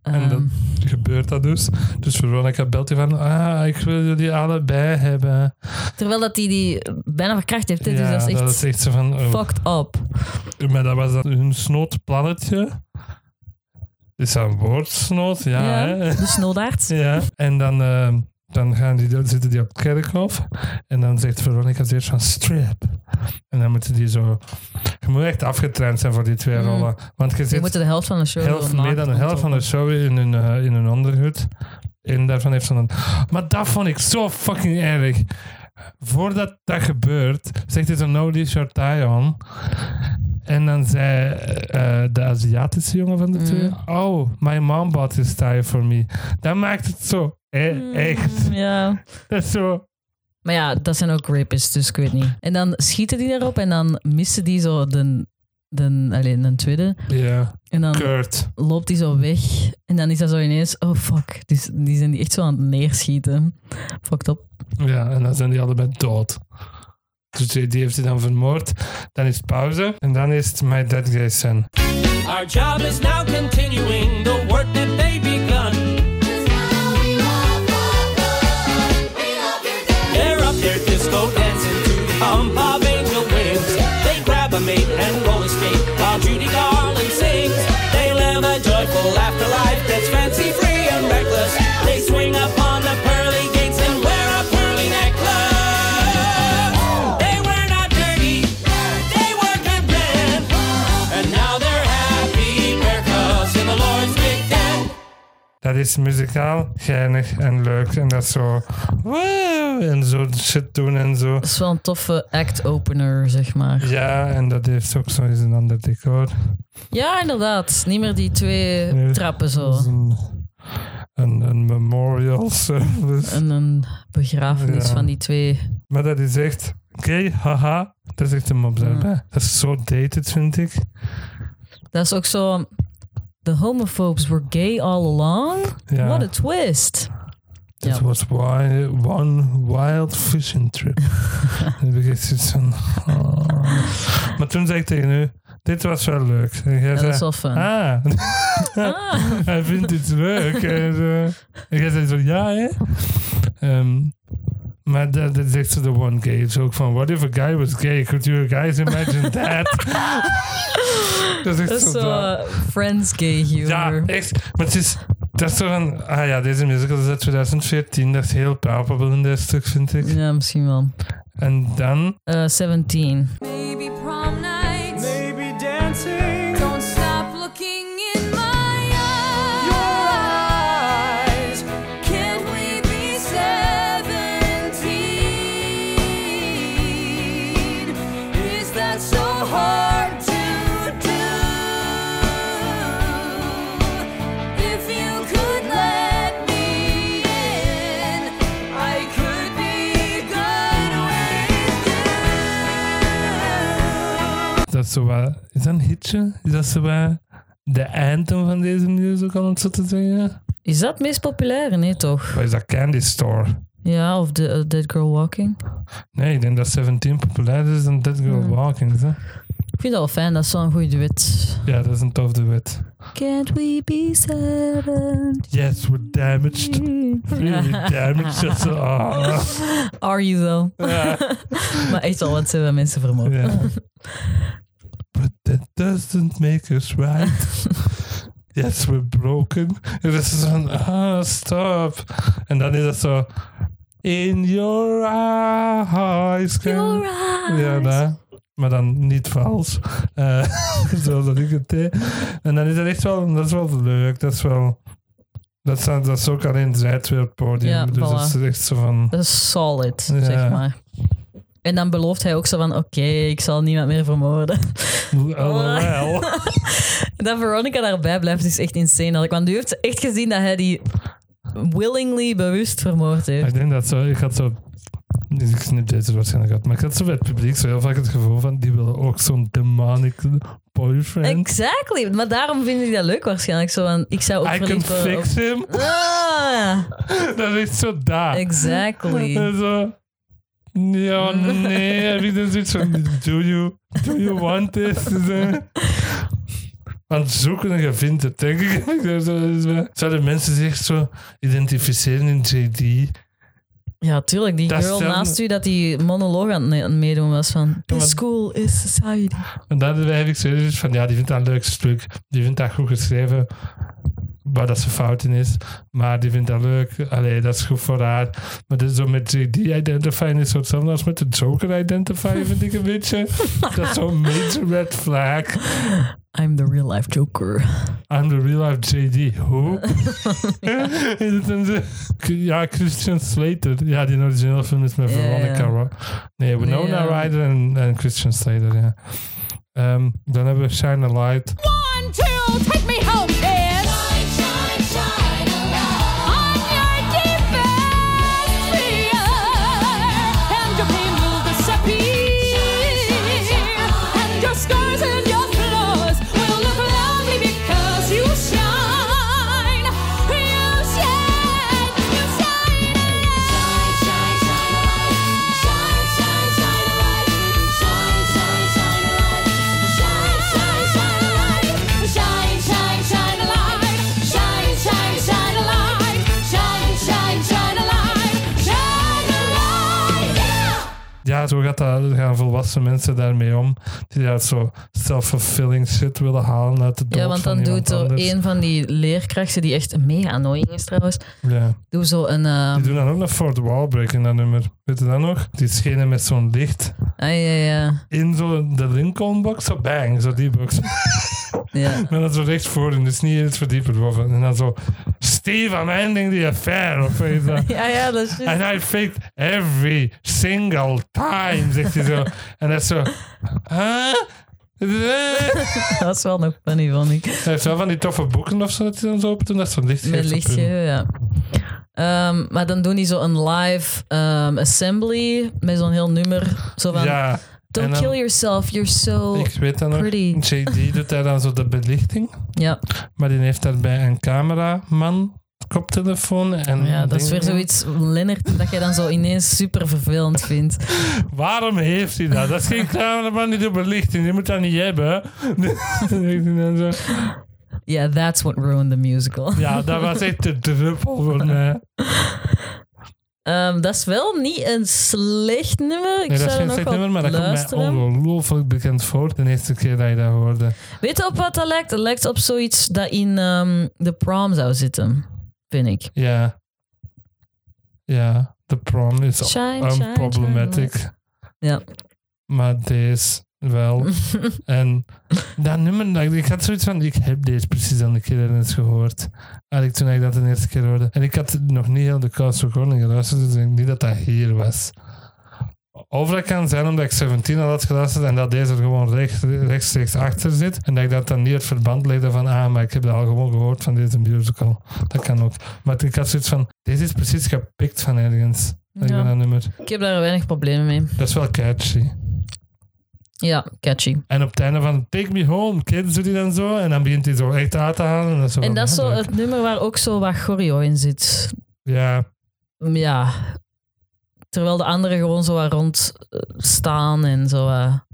S1: En
S2: Ehm,
S1: dan gebeurt dat dus. Dus Veronica belt je van, ah, ik wil jullie allebei hebben.
S2: Terwijl dat hij die bijna verkracht heeft. hè. dus dat is echt
S1: zo van, oh.
S2: fucked up.
S1: maar dat was dan hun snootplannetje. Is dat een woord, snoot? Ja,
S2: Ja,
S1: hè?
S2: de snoodaarts.
S1: ja. En dan, eh, dan gaan die, dan zitten die op het kerkhof. En dan zegt Veronica eerst van, strip. En dan moeten die zo... Je moet echt afgetraind zijn voor die twee
S2: Mm.
S1: rollen. Want je
S2: Die
S1: zit
S2: moeten de helft van de show
S1: helft,
S2: doen,
S1: meer dan de
S2: naakt
S1: helft van de show in hun, eh, in hun onderhut. En daarvan heeft ze dan... Maar dat vond ik zo fucking erg. Voordat dat gebeurt, zegt hij zo, no, this your tie on. En dan zei eh, de Aziatische jongen van de twee, oh, my mom bought this tie for me. Dat maakt het zo e-
S2: Mm.
S1: echt.
S2: Ja.
S1: Dat is zo...
S2: Maar ja, dat zijn ook rapists, dus ik weet niet. En dan schieten die daarop en dan missen die zo de, de, alleen een tweede.
S1: Ja,
S2: En dan
S1: Kurt.
S2: loopt die zo weg. En dan is dat zo ineens, oh fuck. Dus die zijn die echt zo aan het neerschieten. Fucked up.
S1: Ja, en dan zijn die allebei dood. Dus die die heeft hij dan vermoord. Dan is het pauze. En dan is het My Dead Gay Son.
S4: Our job is now continuing the work that they begun.
S3: Cause now we love our God.
S1: iets muzikaal geinig en leuk. En dat zo... "Wow," en zo shit doen en zo.
S2: Dat is wel een toffe act-opener, zeg maar.
S1: Ja, en dat heeft ook zo eens een ander
S2: Oh.
S1: decor.
S2: Ja, inderdaad. Niet meer die twee
S1: Nee.
S2: trappen zo.
S1: Dat is Een, een, een memorial service.
S2: En een begrafenis
S1: Ja.
S2: van die twee.
S1: Maar dat is echt... Oké, haha. Dat is echt een mop daarbij. Dat is zo dated, vind ik.
S2: Dat is ook zo... The homophobes were gay all along?
S1: Ja.
S2: What a twist.
S1: That
S2: Ja.
S1: was wi- one wild fishing trip. Dan heb ik echt zoiets van... oh. Maar toen zei ik tegen u, dit was wel leuk. En jij
S2: Ja, dat
S1: zei,
S2: is wel fun.
S1: ah,
S2: Ah.
S1: hij vindt dit leuk. En, eh, en jij zei zo, ja eh? hè? Ehm, maar dat dat is echt zo de one gay joke van, what if a guy was gay? Could you guys imagine that? dat is echt
S2: Dat is
S1: zo...
S2: zo
S1: dat.
S2: eh, Friends gay humor.
S1: Ja, echt. Maar het is... Dat is toch een... Ah ja, deze musical is uit 2014. Dat is heel palpable in dat stuk, vind ik.
S2: Ja, misschien wel.
S1: En dan...
S2: Eh, 17.
S3: Maybe prom night.
S4: Maybe dancing.
S3: Don't stop looking in my
S4: Your
S3: eyes.
S4: eyes.
S3: Can't we be 17? Is that so hard to do? If you could let me in, I could be good with you.
S1: Dat is zo wat... Is dat een hitje? Is dat zo wat... De anthem van deze musical, om het zo te zeggen?
S2: Is dat het meest populaire? Nee, toch?
S1: Wat is dat? Candy Store?
S2: Ja, of the, eh, Dead Girl Walking.
S1: Nee, ik denk dat 17 populairder is dan Dead Girl Walking. Hè?
S2: Ik vind dat wel fijn, dat is wel een goede duet.
S1: Ja, dat is een tof duet.
S2: Can't we be 17?
S1: Yes, we're damaged. Really damaged. Dat is zo- ah.
S2: Are you though?
S1: Ja.
S2: maar echt al wat ze hebben mensen vermogen.
S1: Ja. But that doesn't make us right. yes, we're broken. En dat is van, ah, stop. En dan is het zo, in your eyes. can-"
S2: Your
S1: Ja,
S2: eyes.
S1: daar. Maar dan niet vals. Eh, zoals dat ik het deed. En dan is dat echt wel, dat is wel leuk. Dat is wel, dat is, dat is ook alleen zij twee op het podium.
S2: Ja,
S1: dus dat
S2: voilà.
S1: is echt zo van,
S2: Dat is solid,
S1: Ja.
S2: zeg maar. En dan belooft hij ook zo van, oké, ik zal niemand meer vermoorden.
S1: lol.
S2: dat Veronica daarbij blijft is echt insane. had ik- Want nu heeft ze echt gezien dat hij die willingly bewust vermoord heeft.
S1: Ik denk dat zo, ik had zo. Ik snip deze waarschijnlijk uit, maar ik had zo bij het publiek zo heel vaak het gevoel van die willen ook zo'n demonic boyfriend.
S2: Exactly, maar daarom vind ik dat leuk waarschijnlijk. Zo van, ik zou ook
S1: I can
S2: verliefd worden op-
S1: fix him.
S2: Ah,
S1: Dat is zo daar.
S2: exactly.
S1: En zo. Ja, nee. Heb ik dan zoiets van. Do you, do you want this? Zo. Aan het zoeken en je vindt het, denk ik. Zo- zo- zo- Zouden mensen zich echt zo identificeren in JD?
S2: Ja, tuurlijk. Die
S1: Dat
S2: girl
S1: stel-
S2: naast u dat die monoloog aan het ne- aan het meedoen was van...
S1: maar-
S2: This school is society.
S1: En daarbij heb ik zoiets van, ja, die vindt dat een leuk stuk. Die vindt dat goed geschreven, waar dat ze fout in is. Maar die vindt dat leuk. Allee, dat is goed voor haar. Maar dus zo met die- die identifying is zo hetzelfde als met de Joker identifying, vind ik een beetje. Dat is zo'n major red flag.
S2: I'm the real life joker.
S1: I'm the real life JD. Hoe? Is het een ze- ja, Christian Slater. Ja, die originele film is met
S2: Ja,
S1: Veronica.
S2: ja.
S1: Ro- Nee, Winona
S2: ja.
S1: Ryder en, en Christian Slater, ja. Ehm, dan hebben we Shine a Light.
S3: One, two, take me home, kids. Shine, shine, shine I'm your deepest fear, and your pain will disappear, and your scars and your flaws will look lovely because you shine, you shine, you shine Shine, shine, shine a light. Shine, shine, shine a light. Shine, shine, shine a light. Shine, shine, shine a light. Shine, shine, shine a light. Shine, shine, shine a light. Shine, shine, shine a light. Shine a light. Yeah.
S1: Ja, zo gaat dat, gaan volwassen mensen daarmee om. Die daar zo self-fulfilling shit willen halen uit de dood
S2: Ja, want
S1: van
S2: dan
S1: iemand
S2: doet zo
S1: anders.
S2: een van die leerkrachten, die echt mega annoying is trouwens,
S1: Ja.
S2: doe zo een... eh,
S1: Die doen dan ook nog Fort Wallbreak in dat nummer. Weet je dat nog? Die schenen met zo'n licht
S2: ah, ja, ja,
S1: in zo de Lincoln-box. Zo bang, zo die box.
S2: ja.
S1: Maar dat zo recht voor en dus niet iets verdieper boven. En dan zo, "Sst, Steve, I'm ending the affair. Of weet je wel.
S2: Ja, ja, dat is juist.
S1: And I faked every single time, zegt hij zo. En dat is zo... Huh? Eh? Ah,
S2: Dat is wel nog funny, vond ik.
S1: Hij heeft wel van die toffe boeken of zo dat hij dan zo op doet. Dat is zo'n lichtje.
S2: Met lichtje, ja. Ehm, maar dan doen die zo een live ehm, assembly met zo'n heel nummer. Zo van,
S1: Ja.
S2: don't
S1: en dan-
S2: kill yourself, you're so...
S1: Ik weet dat nog.
S2: Pretty.
S1: JD doet daar dan zo de belichting.
S2: Ja,
S1: Maar die heeft daarbij een cameraman, koptelefoon en...
S2: ja dat is weer
S1: dingen.
S2: zoiets, Lennart, dat jij dan zo ineens super vervelend vindt.
S1: Waarom heeft hij dat? Dat is geen cameraman die doet belichting. Die moet dat niet hebben. En zo.
S2: Ja, that's what ruined the musical.
S1: ja, dat was echt de druppel voor mij.
S2: Ehm, dat is wel niet een slecht nummer. Ik
S1: Nee, dat is
S2: zou er
S1: geen
S2: nog
S1: slecht
S2: wel
S1: nummer, maar dat komt mij
S2: luisteren.
S1: ongelooflijk bekend voor. De eerste keer dat je dat hoorde.
S2: Weet je op wat dat lijkt? Dat lijkt op zoiets dat in ehm The Prom zou zitten, vind ik.
S1: Ja. Ja, de prom is
S2: Shine, shine,
S1: unproblematic.
S2: Ja.
S1: Maar deze wel. en dat nummer, dat- ik had zoiets van, ik heb deze precies al een keer ergens gehoord. Eigenlijk toen ik dat de eerste keer hoorde. En ik had nog niet heel de Cast Recording geluisterd, dus ik denk niet dat dat hier was. Of dat kan zijn omdat ik 17 al had geluisterd en dat deze er gewoon recht- rechtstreeks achter zit. En dat ik dat dan niet het verband legde van, ah, maar ik heb dat al gewoon gehoord van deze musical. Dat kan ook. Maar ik had zoiets van, deze is precies gepikt van ergens. Dat
S2: Ja.
S1: Ik ben dat nummer.
S2: Ik heb daar weinig problemen mee.
S1: Dat is wel catchy.
S2: Ja, catchy.
S1: En op het einde van Take Me Home, kids, doet hij dan zo. En dan begint hij zo echt uit te halen. En dat is zo,
S2: En
S1: van,
S2: dat is zo
S1: ja,
S2: het nummer waar ook zo wat choreo in zit.
S1: Ja,
S2: Ja. Terwijl de anderen gewoon zo wat rond eh, staan en zo wat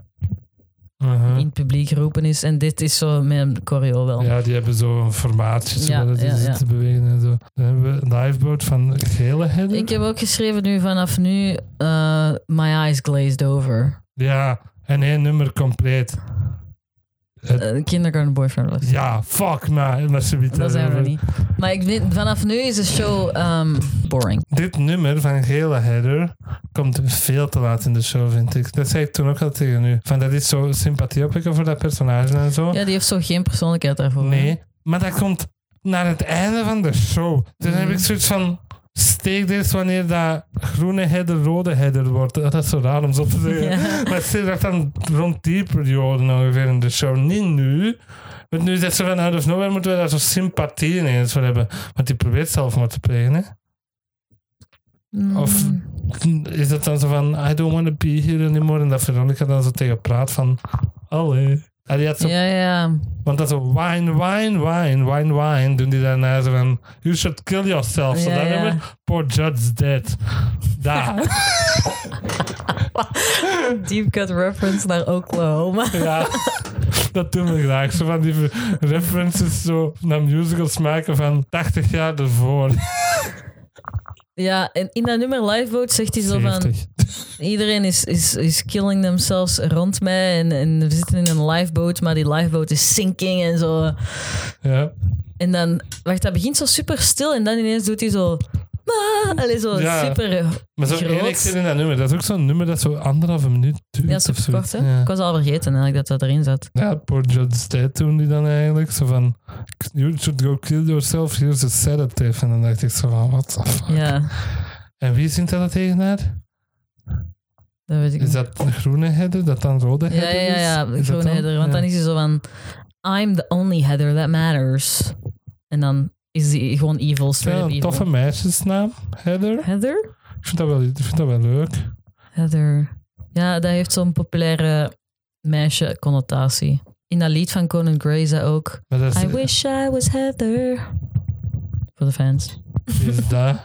S1: aha.
S2: in het publiek roepen is. En dit is zo met een choreo wel.
S1: ja, die hebben zo'n formaatje
S2: Ja,
S1: ja, dat
S2: ja,
S1: ja,
S2: ja.
S1: te bewegen en zo. Dan hebben we Lifeboat van Gele Header.
S2: Ik heb ook geschreven nu vanaf nu eh, My Eyes Glazed Over.
S1: Ja, en één nummer compleet.
S2: Eh, kindergarten Boyfriend was.
S1: Ja, fuck nou, me. Maar ze weten
S2: Dat zijn we
S1: erover.
S2: niet. Maar ik vind, vanaf nu is de show ehm, boring.
S1: Dit nummer van Gele Header komt veel te laat in de show, vind ik. Dat zei ik toen ook al tegen u. Van dat is zo sympathie opwekken voor dat personage en zo.
S2: Ja, die heeft zo geen persoonlijkheid daarvoor. hè?
S1: Oh. Nee, maar dat komt naar het einde van de show. Dus dan heb ik zoiets van... Steek dit wanneer dat groene header rode header wordt. Oh, Dat is zo raar om zo te zeggen. Maar steek dat dan rond die periode ongeveer in de show. Niet nu. Want nu zegt ze van out of nowhere moeten we daar zo sympathie ineens voor hebben. Want die probeert zelfmoord te plegen, hè.
S2: Mm,
S1: Of is dat dan zo van I don't want to be here anymore. En dat Veronica dan zo tegen praat van... Allee. En die had zo
S2: Ja, ja.
S1: want dat is zo wine, wine, wine, wine, wine. Doen die daarna zo van, you should kill yourself. Zo
S2: Ja,
S1: dat
S2: ja.
S1: nummer, poor judge's dead. Daar.
S2: Deep cut reference naar Oklahoma.
S1: ja. Dat doen we graag. Zo van die references zo naar musicals maken van 80 jaar ervoor.
S2: Ja, en in dat nummer Lifeboat zegt hij zo van...
S1: 70.
S2: Iedereen is, is, is killing themselves rond mij. En, en we zitten in een lifeboat, maar die lifeboat is sinking en zo.
S1: Ja.
S2: En dan... Wacht, dat begint zo super stil. En dan ineens doet hij zo... "Ma", Allee, zo
S1: Ja.
S2: super...
S1: Maar zo
S2: Groot.
S1: één keer in dat nummer. Dat is ook zo'n nummer dat zo anderhalve minuut duurt.
S2: Ja,
S1: of
S2: super
S1: zoiets.
S2: kort, hè?
S1: Ja.
S2: Ik was al vergeten eigenlijk dat dat erin zat.
S1: Ja, poor Judge Dead toen die dan eigenlijk. Zo van, you should go kill yourself, here's a sedative. En dan dacht ik zo van, what the fuck.
S2: Ja,
S1: En wie zingt dat tegen haar?
S2: dat weet ik
S1: Is
S2: niet.
S1: dat een groene header dat dan rode
S2: Ja,
S1: header
S2: ja,
S1: is?
S2: ja,
S1: Is dat
S2: gewoon header. Want
S1: Ja.
S2: dan is hij zo van... I'm the only header that matters. En dan is hij gewoon evil,
S1: Is dat
S2: straight up
S1: een
S2: evil.
S1: toffe meisjesnaam, header.
S2: Heather?
S1: Ik vind dat wel, ik vind dat wel leuk.
S2: Heather. Ja, dat heeft zo'n populaire meisje-connotatie. In dat lied van Conan Gray zei ook...
S1: Maar dat is,
S2: I wish I was Heather. Voor de fans.
S1: is dat.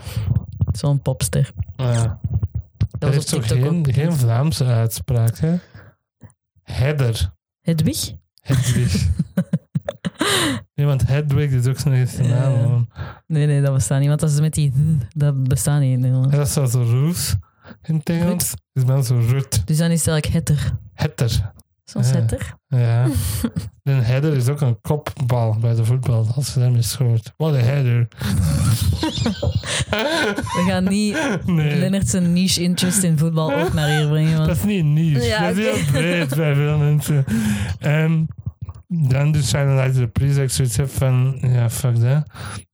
S2: Zo'n popster.
S1: Ja.
S2: Dat
S1: Dat
S2: was op
S1: is toch
S2: TikTok ook.
S1: geen, geen Vlaamse uitspraak, hè? Header.
S2: Hedwig?
S1: Hedwig. nee, want Hedwig is ook zijn eerste
S2: Ja.
S1: naam. man.
S2: Nee, nee, dat bestaat niet. Want dat is met die... th, Dat bestaat niet in Nederland.
S1: En dat is wel zo Roos in het Engels. Is dan zo Rut.
S2: Dus dan is het eigenlijk Heather.
S1: Hetter.
S2: Soms
S1: Ja.
S2: Heather.
S1: Ja. Een header is ook een kopbal bij de voetbal, als je daarmee schoort. Wat een header.
S2: We gaan niet
S1: Nee,
S2: Lennart zijn niche interest in voetbal ook naar hier brengen.
S1: dat
S2: Want...
S1: is niet nieuws.
S2: Ja,
S1: dat is
S2: oké.
S1: heel breed bij veel mensen. En dan dus zijn er uit de prijs dat ik zoiets heb van, ja, fuck dat.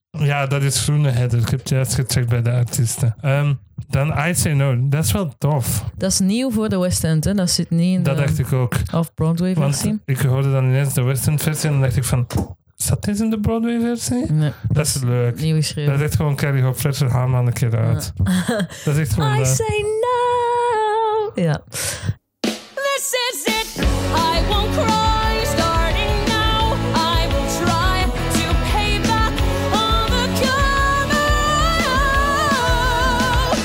S1: Ja, dat is groene header. Ik heb het juist gecheckt bij de artiesten. Ehm, dan I Say No. Dat is wel tof.
S2: Dat is nieuw voor de West End, hè? Dat zit niet in
S1: Dat
S2: de
S1: dacht ik ook.
S2: off-Broadway
S1: Want
S2: versie.
S1: ik hoorde dan ineens de Western versie en dan dacht ik van... Zat dit in de Broadway versie?
S2: Mm. Nee,
S1: Dat is leuk.
S2: nieuw
S1: Dat is
S2: geschreven.
S1: echt gewoon Carrie Hope Fletcher haal maar een keer uit. Dat is echt eh, gewoon...
S2: I
S1: dat.
S2: say no! Ja.
S3: This is it. I won't cry. Starting now, I will try to pay back all the karma.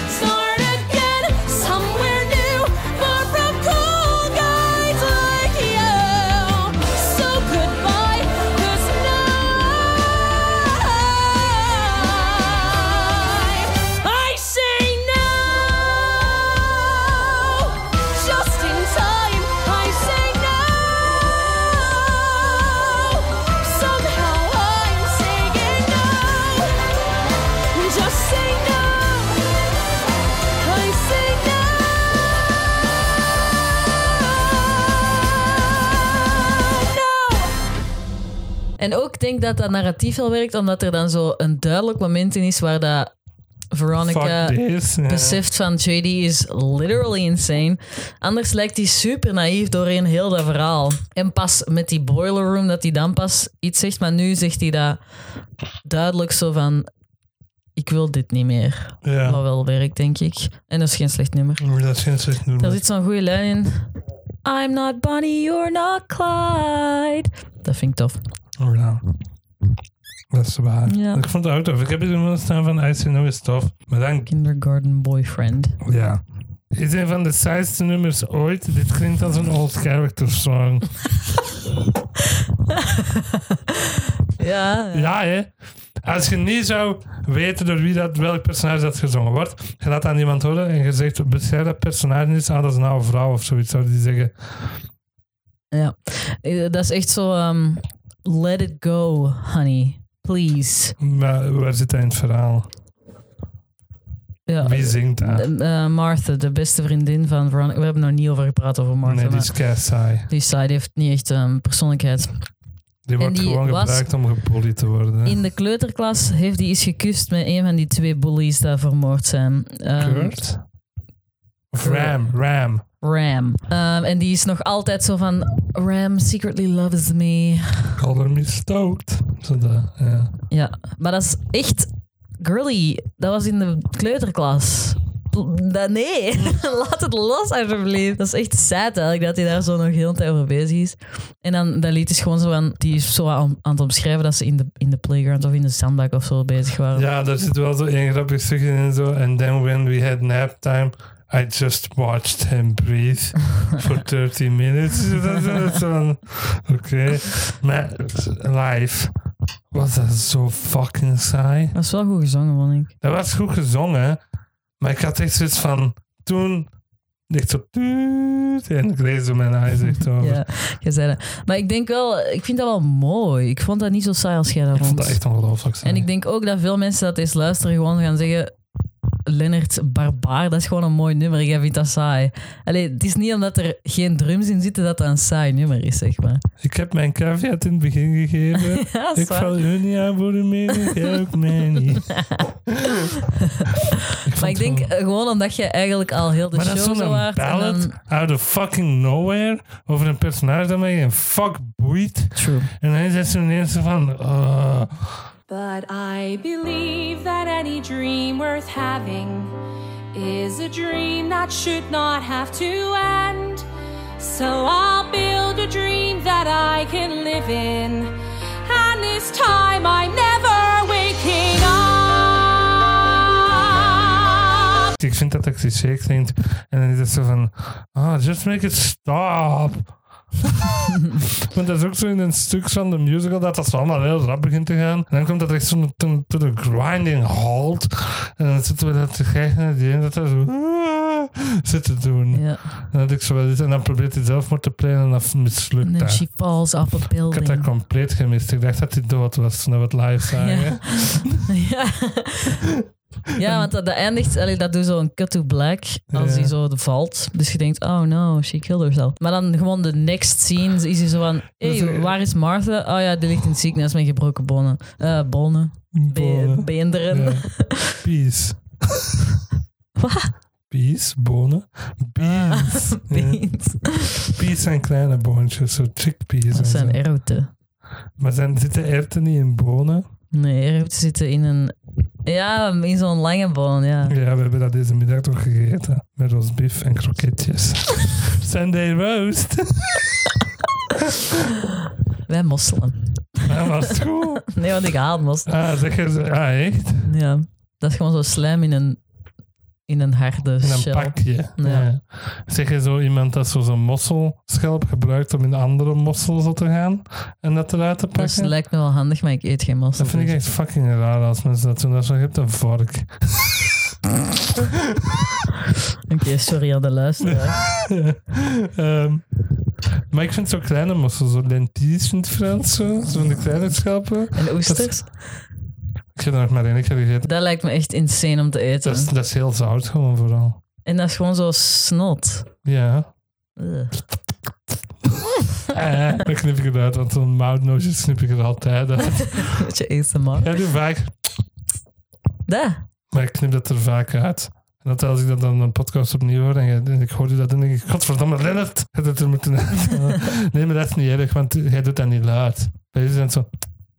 S3: Start again, somewhere new, far from cool guys like you. So goodbye, 'cause now I say no. Just in time, I say no. Somehow I'm saying no. Just say no. I say no. No.
S2: En ook denk dat dat narratief wel werkt, omdat er dan zo een duidelijk moment in is waar dat Veronica
S1: Fuck this. Ja.
S2: beseft van JD is literally insane. Anders lijkt hij super naïef doorheen heel dat verhaal. En pas met die boiler room dat hij dan pas iets zegt, maar nu zegt hij dat duidelijk zo van ik wil dit niet meer.
S1: Ja. Mm,
S2: Wat wel werkt, denk ik. En dat is geen slecht nummer.
S1: Dat is geen slecht
S2: Daar
S1: nummer.
S2: zit zo'n goede lijn in. I'm not Bonnie, you're not Clyde. Dat vind ik tof.
S1: Oh, ja. Dat is waar.
S2: Ja.
S1: Ik vond het ook tof. Ik heb hier iemand staan van I Say No is tof. Maar dan...
S2: Kindergarten boyfriend.
S1: Ja. Is een van de saaiste nummers ooit. Dit klinkt als een old character song.
S2: Ja,
S1: Ja, hè. Als je niet zou weten door wie dat, welk personage dat gezongen wordt, je laat aan iemand horen en je zegt, beschrijf dat personage niet, ah, dat is een oude vrouw of zoiets, zou die zeggen.
S2: Ja, Eh, dat is echt zo. ehm, let it go, honey. Please.
S1: Maar waar zit hij in het verhaal?
S2: Ja.
S1: Wie zingt dat?
S2: Eh, eh, Martha, de beste vriendin van Veronica. We hebben nog niet over gepraat over Martha.
S1: Nee, die
S2: maar
S1: is kei saai.
S2: die side heeft niet echt ehm, persoonlijkheid.
S1: Die wordt
S2: die
S1: gewoon
S2: was-
S1: gebruikt om gepollied te worden. hè.
S2: In de kleuterklas heeft hij eens gekust met een van die twee bullies die vermoord zijn. Ehm,
S1: Kurt? Of Ram, Ram.
S2: Ram. Ehm, en die is nog altijd zo van... Ram secretly loves me.
S1: Color me stoked. Zo dat, ja.
S2: Ja, maar dat is echt girly. Dat was in de kleuterklas. Pl- Dat, nee, laat het los alsjeblieft. Dat is echt sad eigenlijk dat hij daar zo nog heel de tijd over bezig is. En dan dat lied is gewoon zo aan, die is zo aan, aan het omschrijven dat ze in de, in de playground of in de zandbak of zo bezig waren.
S1: Ja, daar zit wel zo één grappig stukje in en zo. And then when we had nap time, I just watched him breathe for 30 minutes. Dat is- dat is dan- Oké. Maar live was dat zo fucking saai.
S2: Dat is wel goed gezongen, vond ik.
S1: Dat was goed gezongen, maar ik had echt zoiets van toen... Echt zo... tuut, En ik lees er mijn eyes echt over.
S2: Ja, je zei dat. Maar ik denk wel, ik vind dat wel mooi. Ik vond dat niet zo saai als jij dat
S1: Ik vond dat
S2: vond.
S1: echt ongelooflijk saai.
S2: En ik denk ook dat veel mensen dat eens luisteren gewoon gaan zeggen... Lennart Barbaar, dat is gewoon een mooi nummer. Jij vindt dat saai. Allee, het is niet omdat er geen drums in zitten dat dat een saai nummer is, zeg maar.
S1: Ik heb mijn caveat in het begin gegeven.
S2: Ja, dat is
S1: Ik
S2: waar.
S1: val hun niet aan voor de mening, jij ook mij niet.
S2: Maar ik denk eh, gewoon omdat je eigenlijk al heel de
S1: Maar dat is
S2: show
S1: zo'n
S2: zo hard... en
S1: ballad
S2: dan-
S1: out of fucking nowhere over een personage dat mij een fuck boeit.
S2: True.
S1: En dan zegt ze ineens zo van... eh,
S3: But I believe that any dream worth having is a dream that should not have to end. So I'll build a dream that I can live in. And this time I'm never waking up.
S1: ik vind dat dat cliché klinkt. En dan is het zo van... Ah, just make it stop. Want dat is ook zo in een stuk van de musical dat dat zo allemaal heel rap begint te gaan. En dan komt dat echt zo'n to, to the grinding halt. En dan zitten we dat te kijken naar die en dat dat zo... ah, zit te doen.
S2: Ja.
S1: En dat ik zo wel eens- en dan probeert hij zelfmoord te plegen en dat mislukt.
S2: And then
S1: dat.
S2: she falls off a
S1: Ik had dat
S2: building.
S1: compleet gemist. Ik dacht dat hij dood was toen we het live zagen.
S2: Ja. Ja, want dat, dat eindigt, allee, dat doet zo'n cut to black als
S1: Ja.
S2: hij zo valt. Dus je denkt, oh no, she killed herself. Maar dan gewoon de next scene is hij zo van, hey, waar is Martha? Oh ja, die ligt in het ziekenhuis met gebroken bonnen. Eh bonnen, Be-
S1: Bonen.
S2: beenderen.
S1: Ja. Peas.
S2: Wat? Ah,
S1: Peas, bonen. Beans. Ja.
S2: Beans.
S1: Peas zijn kleine boontjes, zo chickpeas. en
S2: Dat
S1: zo.
S2: zijn erwten.
S1: Maar zijn, zitten erwten niet in bonen?
S2: Nee, erwten zitten in een... Ja, in zo'n lange bon, ja.
S1: Ja, we hebben dat deze middag toch gegeten. Met ons bief en kroketjes. Sunday roast.
S2: Wij mosselen.
S1: Dat was goed.
S2: Nee, want ik haat mosselen.
S1: Ah, zeg eens. Ah, echt?
S2: Ja. Dat is gewoon zo slijm in een, in een harde
S1: In een
S2: shell.
S1: pakje.
S2: Ja.
S1: Ja. Zeg je zo iemand dat zo zo'n mosselschelp gebruikt om in andere mossel zo te gaan en dat eruit te
S2: Dat
S1: pakken?
S2: lijkt me wel handig, maar ik eet geen mosselen.
S1: Dat vind ik echt fucking raar als mensen dat doen. Dat is zo, je hebt een vork.
S2: Oké, sorry aan de luisteraar.
S1: Ehm, maar ik vind zo kleine mossel, zo lentilles in het Frans, zo. Zo van die kleine schelpen.
S2: En oesters?
S1: Ik heb er nog maar één keer gegeten.
S2: Dat lijkt me echt insane om te eten.
S1: Dat is, dat is heel zout gewoon vooral.
S2: En dat is gewoon zo snot.
S1: Ja.
S2: Ugh.
S1: Eh, dan knip ik het uit, want zo'n moutnootje snip ik er altijd uit.
S2: Weet je, ASMR.
S1: Ja, nu vaak.
S2: Daar.
S1: Maar ik knip dat er vaak uit. En dat als ik dat dan een podcast opnieuw hoor en, je- en ik hoorde dat, dan denk ik: Godverdomme, Lennart! Je had het er moeten uithalen." Nee, maar dat is niet erg, want jij doet dat niet luid. Bij jullie is dat zo.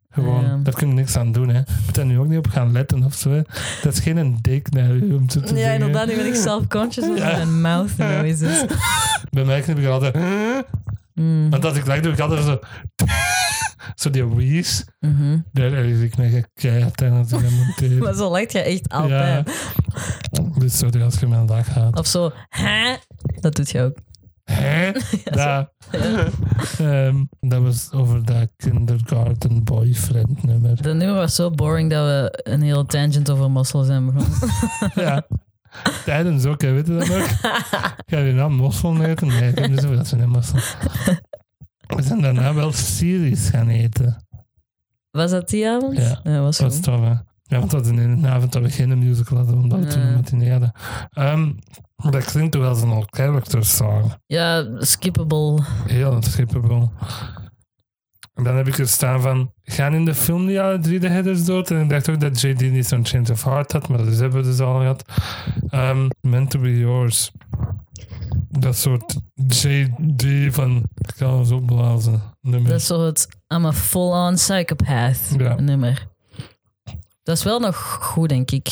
S1: Gewoon,
S2: Ja.
S1: daar kun je niks aan doen. Hè. Je moet daar nu ook niet op gaan letten of zo. hè. Dat is geen een dik naar u om zo te
S2: Ja,
S1: zeggen.
S2: inderdaad. Nu ben ik self-conscious van
S1: Ja.
S2: mijn mouth noises.
S1: Bij mij knip ik er altijd.
S2: Mm.
S1: Want als ik lach doe ik altijd zo. zo die wheeze.
S2: Mhm.
S1: Daar erg ik me keihard aan als ik dat moet
S2: Maar
S1: doen.
S2: zo lijkt je echt altijd.
S1: Dus sorry als je mijn dag haat.
S2: Of zo, hè? Dat doet je ook.
S1: Hè? Ja. Ehm, dat was over dat kindergarten boyfriend nummer.
S2: Dat nummer was zo boring dat we een hele tangent over mosselen zijn begonnen.
S1: ja. Tijdens ook, hè, weet je dat nog? Ga je nou mossel eten? Nee, ik heb niet zoveel zin in mossel. We zijn daarna wel series gaan eten.
S2: Was dat die avond?
S1: Ja.
S2: was
S1: Dat
S2: goed.
S1: was tof, hè? Ja, want dat in een avond dat we geen musical hadden, omdat we toen
S2: Nee.
S1: een matinee hadden. Ehm, dat klinkt toch wel zo'n all-character song.
S2: Ja, skippable.
S1: Heel unskippable. En dan heb ik er staan van, gaan in de film niet alle drie de headers dood? En ik dacht ook dat JD niet zo'n change of heart had, maar dat is- hebben we dus al gehad. Ehm, Meant to be yours. Dat soort JD van, ik kan ons opblazen. Nummer.
S2: Dat is zo het I'm a full-on psychopath
S1: Ja.
S2: nummer. Dat is wel nog goed, denk ik.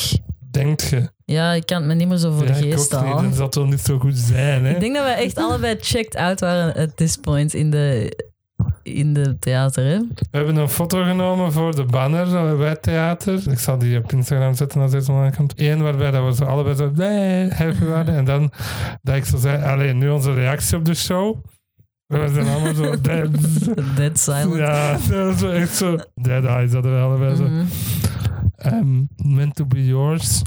S1: Denkt je?
S2: Ja, ik kan het me niet meer zo voor de
S1: ik
S2: geest
S1: ook niet.
S2: halen.
S1: Dat zal toch niet zo goed zijn, hè?
S2: Ik denk dat we echt allebei checked out waren at this point in de, in de theater. Hè?
S1: We hebben een foto genomen voor de banner eh, bij het theater. Ik zal die op Instagram zetten als deze online komt. Eén waarbij dat we zo allebei zo nee, happy waren. En dan dat ik zo zei, alleen nu onze reactie op de show. We zijn allemaal zo dead.
S2: Dead silent.
S1: Ja, dat was zo echt zo. Dead eyes hadden we allebei zo.
S2: Mhm.
S1: Ehm, meant to be yours.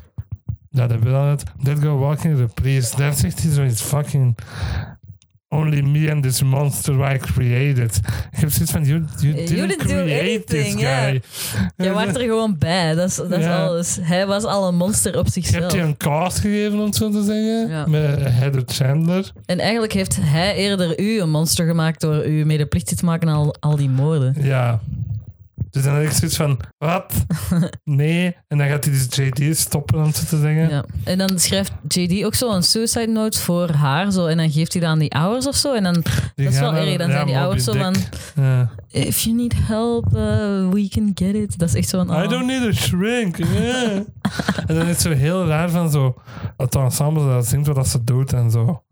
S1: Ja, dat hebben we dan net. That girl walking reprise. Daar zegt hij zoiets fucking... Only me and this monster I created. Ik heb zoiets van, you, you,
S2: You
S1: didn't,
S2: didn't do
S1: create this
S2: anything,
S1: guy.
S2: ja. Jij was er gewoon bij, dat is, dat is
S1: Ja.
S2: alles. Hij was al een monster op
S1: Je hebt
S2: zichzelf.
S1: je een cast gegeven, om het zo te zeggen.
S2: Ja.
S1: Met Heather Chandler.
S2: En eigenlijk heeft hij eerder u een monster gemaakt door u medeplichtig te maken aan al, al die moorden.
S1: Ja. Dus dan had ik zoiets van, wat? Nee. En dan gaat hij dus JD stoppen, om het zo te zeggen.
S2: Ja. En dan schrijft JD ook zo een suicide note voor haar. Zo, en dan geeft hij dat aan die ouders of zo. En dan,
S1: Die
S2: dat is wel
S1: gaan
S2: erg. Dan
S1: ja,
S2: zijn die
S1: Moby
S2: ouders zo van...
S1: Dick. Ja.
S2: If you need help, uh, we can get it. Dat is echt zo'n...
S1: I
S2: oh.
S1: don't need a shrink. yeah. en dan is het zo heel raar van zo... Het ensemble dat zingt wat ze doet en zo.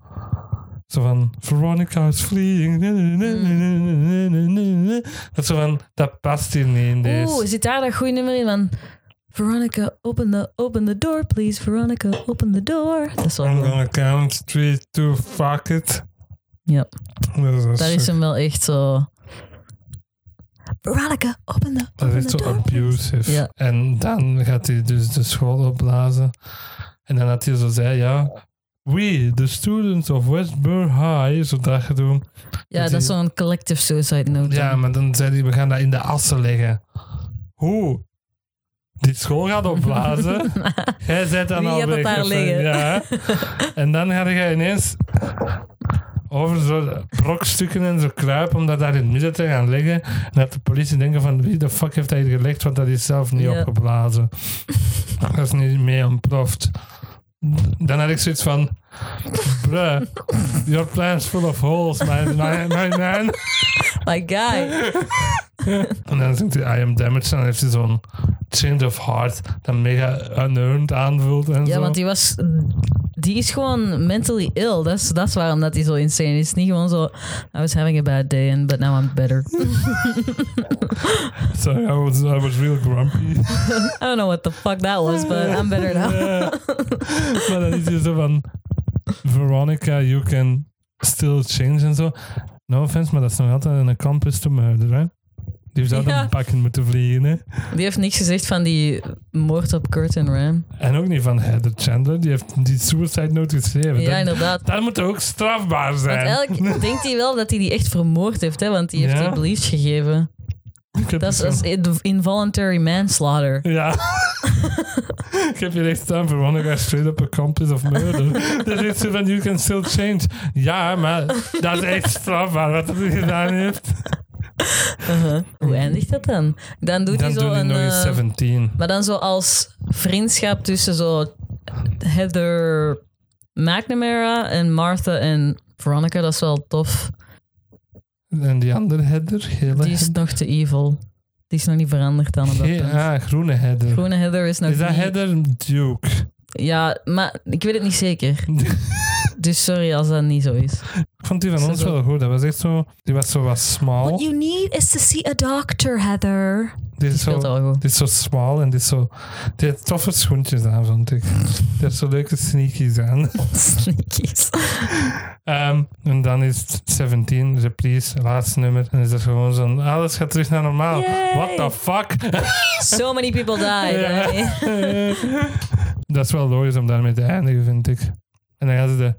S1: Zo van... Veronica is fleeing. Dat is zo van... Dat past hier niet in deze.
S2: Oeh, zit daar dat goede nummer in van... Veronica, open the, open the door, please. Veronica, open the door. Dat is wel
S1: I'm
S2: goed.
S1: gonna count three, two, fuck it.
S2: Ja,
S1: Dat is, dat
S2: daar is hem wel echt zo... Veronica, open the,
S1: dat
S2: open
S1: is
S2: the
S1: zo
S2: door.
S1: abusive.
S2: Ja.
S1: En dan gaat hij dus de school opblazen. En dan had hij zo zei, ja... We, the students of Westboro High, zo dat gedoe.
S2: Ja, dat is zo'n collective suicide note.
S1: Ja, maar dan zei hij, we gaan dat in de assen leggen. Hoe? die school gaat opblazen. Jij zet dan
S2: Wie
S1: al
S2: gaat dat
S1: weg.
S2: daar
S1: of zo.
S2: liggen?
S1: Ja. En dan ga je ineens over zo brokstukken en zo kruipen om dat daar in het midden te gaan liggen. En dat de politie denken van wie de fuck heeft dat hier gelegd, want dat is zelf niet
S2: Ja.
S1: opgeblazen. Dat is niet mee ontploft. Dan had ik zoiets van... Bruh, your plan's full of holes, man. man, man, man.
S2: My guy.
S1: En dan zingt hij I am damaged en dan heeft hij zo'n change of heart dat mega unearned aanvoelt en
S2: Ja,
S1: zo.
S2: want die was... Die is gewoon mentally ill. Dat is, dat is waarom dat hij zo insane is. Niet gewoon zo... I was having a bad day, and, but now I'm better.
S1: Sorry, I was, I was real grumpy.
S2: I don't know what the fuck that was, but I'm better now.
S1: Ja. maar dan is hij zo van... Veronica, you can still change en zo. No offense, maar dat is nog altijd een accomplice to murder, hè? Die zou
S2: Ja.
S1: dan pakken moeten vliegen, hè?
S2: Die heeft niks gezegd van die moord op Curtin Ram.
S1: En ook niet van Heather Chandler, die heeft die suicide note geschreven.
S2: Ja,
S1: dat,
S2: inderdaad.
S1: dat moet ook strafbaar
S2: Want
S1: zijn.
S2: eigenlijk denkt hij wel dat hij die echt vermoord heeft, hè? Want die heeft
S1: Ja.
S2: die bleach gegeven.
S1: Ik heb
S2: Dat is,
S1: zo'n-
S2: dat is in- involuntary manslaughter.
S1: Ja. ik heb hier echt staan voor Veronica straight up accomplice of murder. Dat is zo van, you can still change. Ja, maar dat is echt strafbaar wat hij gedaan heeft.
S2: Uh-huh. Hoe eindigt dat dan? Dan doet
S1: Dan
S2: hij zo
S1: doet hij
S2: een.
S1: nog eens
S2: eh,
S1: 17.
S2: maar dan zo als vriendschap tussen zo Heather McNamara en Martha en Veronica. Dat is wel tof.
S1: En die andere header, gele
S2: Die is nog te evil. Die is nog niet veranderd dan op dat
S1: Ge-
S2: punt.
S1: ah, groene header.
S2: Groene Heather is nog
S1: is dat
S2: niet-
S1: header Duke?
S2: Ja, maar ik weet het niet zeker. dus sorry als dat niet zo is.
S1: Ik vond die van
S2: Is
S1: ons
S2: dat
S1: wel goed. Dat was echt zo... Die was zo wat
S3: What
S1: smal.
S3: you need is to see a doctor, Heather.
S1: Die is
S2: Speelt
S1: zo...
S2: al goed.
S1: Die is zo smal en die is zo... Die heeft toffe schoentjes aan, vond ik. Die heeft zo leuke sneakies aan.
S2: Sneakies.
S1: Ehm, en dan is het dus 17, reprise, laatste nummer. En is dat gewoon zo'n, alles gaat terug naar normaal.
S3: Yay.
S1: What the fuck?
S2: So many people died. eh?
S1: dat is wel logisch om daarmee te eindigen, vind ik. En dan gaan ze de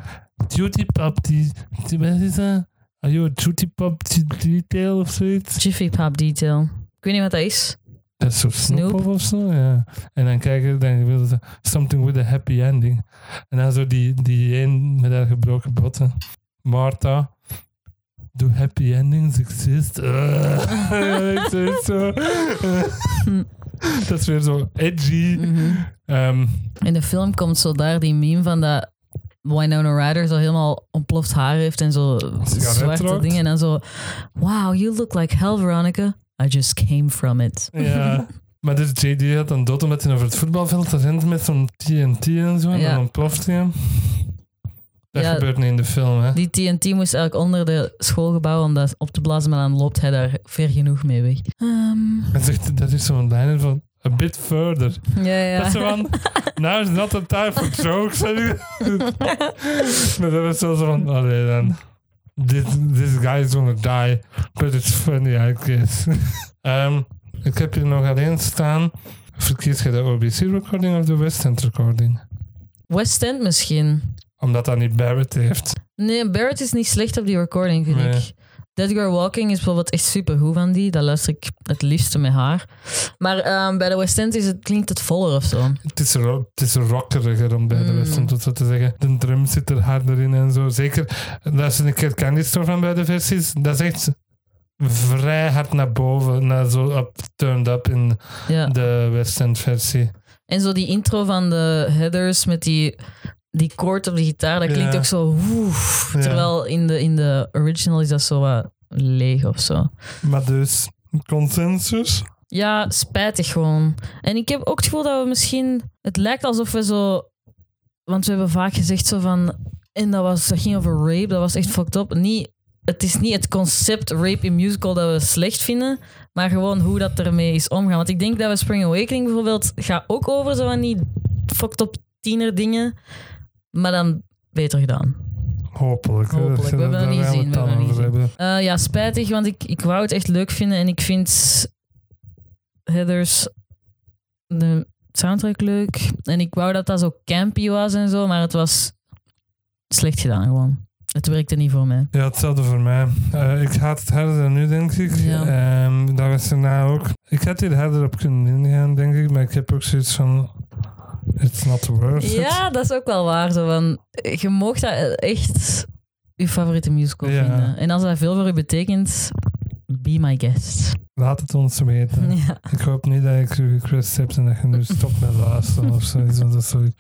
S1: duty pop, die, die- wat is dat? Are you a duty pop d- detail of zoiets?
S2: Jiffy Pop Detail. Ik weet niet wat dat is.
S1: Dat is zo snoep
S2: Snoop.
S1: of, of zo, ja. En dan kijken, dan willen ze something with a happy ending. En dan zo die, die een met haar gebroken botten. Martha, do happy endings exist? Eh, ik zeg het zo. Dat is weer zo edgy.
S3: Mhm.
S1: Ehm,
S2: In de film komt zo daar die meme van dat Winona Ryder zo helemaal ontploft haar heeft en zo
S1: sigaret
S2: zwarte
S1: rookt.
S2: dingen. En dan zo, wow, you look like hell, Veronica. I just came from it.
S1: ja. Maar dus JD had dan dood omdat hij over het voetbalveld rent met zo'n TNT en zo. En
S2: Ja.
S1: dan ontploft hij hem. Dat
S2: Ja.
S1: gebeurt niet in de film, hè.
S2: Die TNT moest eigenlijk onder de schoolgebouw om dat op te blazen, maar dan loopt hij daar ver genoeg mee weg. Ehm,
S1: En zegt, dat is zo'n lijn van, a bit further.
S2: ja,
S1: Dat ze
S2: ja.
S1: van, now is not the time for jokes. maar dat was zo van, allee dan. This, this guy is gonna die, but it's funny, I guess. Ehm, ik heb hier nog alleen staan. Verkies je de OBC-recording of de West End-recording?
S2: West End misschien.
S1: Omdat dat niet Barrett heeft.
S2: Nee, Barrett is niet slecht op die recording, vind
S1: Nee.
S2: ik. Dead Girl Walking is bijvoorbeeld echt supergoed van die. Dat luister ik het liefste met haar. Maar ehm, bij de West End is het, klinkt het voller of zo.
S1: Het is, ro- het is rockeriger om bij de
S2: Mm.
S1: West End tot zo te zeggen. De drum zit er harder in en zo. Zeker, daar is een keer Candy Store van bij de versies. Dat is echt vrij hard naar boven. Naar zo up, turned up in
S2: Ja.
S1: De West End versie.
S2: En zo die intro van de headers met die, die koord op de gitaar, dat klinkt
S1: Ja.
S2: ook zo woef.
S1: Ja.
S2: Terwijl in de, in de original is dat zo wat leeg of zo.
S1: Maar dus, consensus?
S2: Ja, spijtig gewoon. En ik heb ook het gevoel dat we misschien... Het lijkt alsof we zo... Want we hebben vaak gezegd zo van... En dat, was, dat ging over rape, dat was echt fucked up. Niet, het is niet het concept rape in musical dat we slecht vinden, maar gewoon hoe dat ermee is omgaan. Want ik denk dat we Spring Awakening bijvoorbeeld gaat ook over zo van die fucked up tiener dingen, maar dan beter gedaan.
S1: Hopelijk. hè.
S2: Hopelijk.
S1: Dat-
S2: We hebben
S1: daar
S2: dat niet
S1: gaan
S2: gezien,
S1: het
S2: we hebben
S1: dan
S2: dat niet
S1: over hebben.
S2: Eh, ja, spijtig, want ik, ik wou het echt leuk vinden. En ik vind Heathers de soundtrack leuk. En ik wou dat dat zo campy was en zo, maar het was slecht gedaan gewoon. Het werkte niet voor mij.
S1: Ja, hetzelfde voor mij. Eh, ik haat het harder dan nu, denk ik.
S2: Ja.
S1: Ehm, dat was daarna ook. Ik had hier harder op kunnen ingaan, denk ik. Maar ik heb ook zoiets van... It's not worth it.
S2: Ja, dat is ook wel waar. Zo van, je mag dat echt je favoriete musical
S1: Ja.
S2: vinden. En als dat veel voor je betekent, be my guest.
S1: Laat het ons weten.
S2: Ja.
S1: Ik hoop niet dat ik u gecrust heb en dat je nu stopt met luisteren of zoiets. Want dat zou ik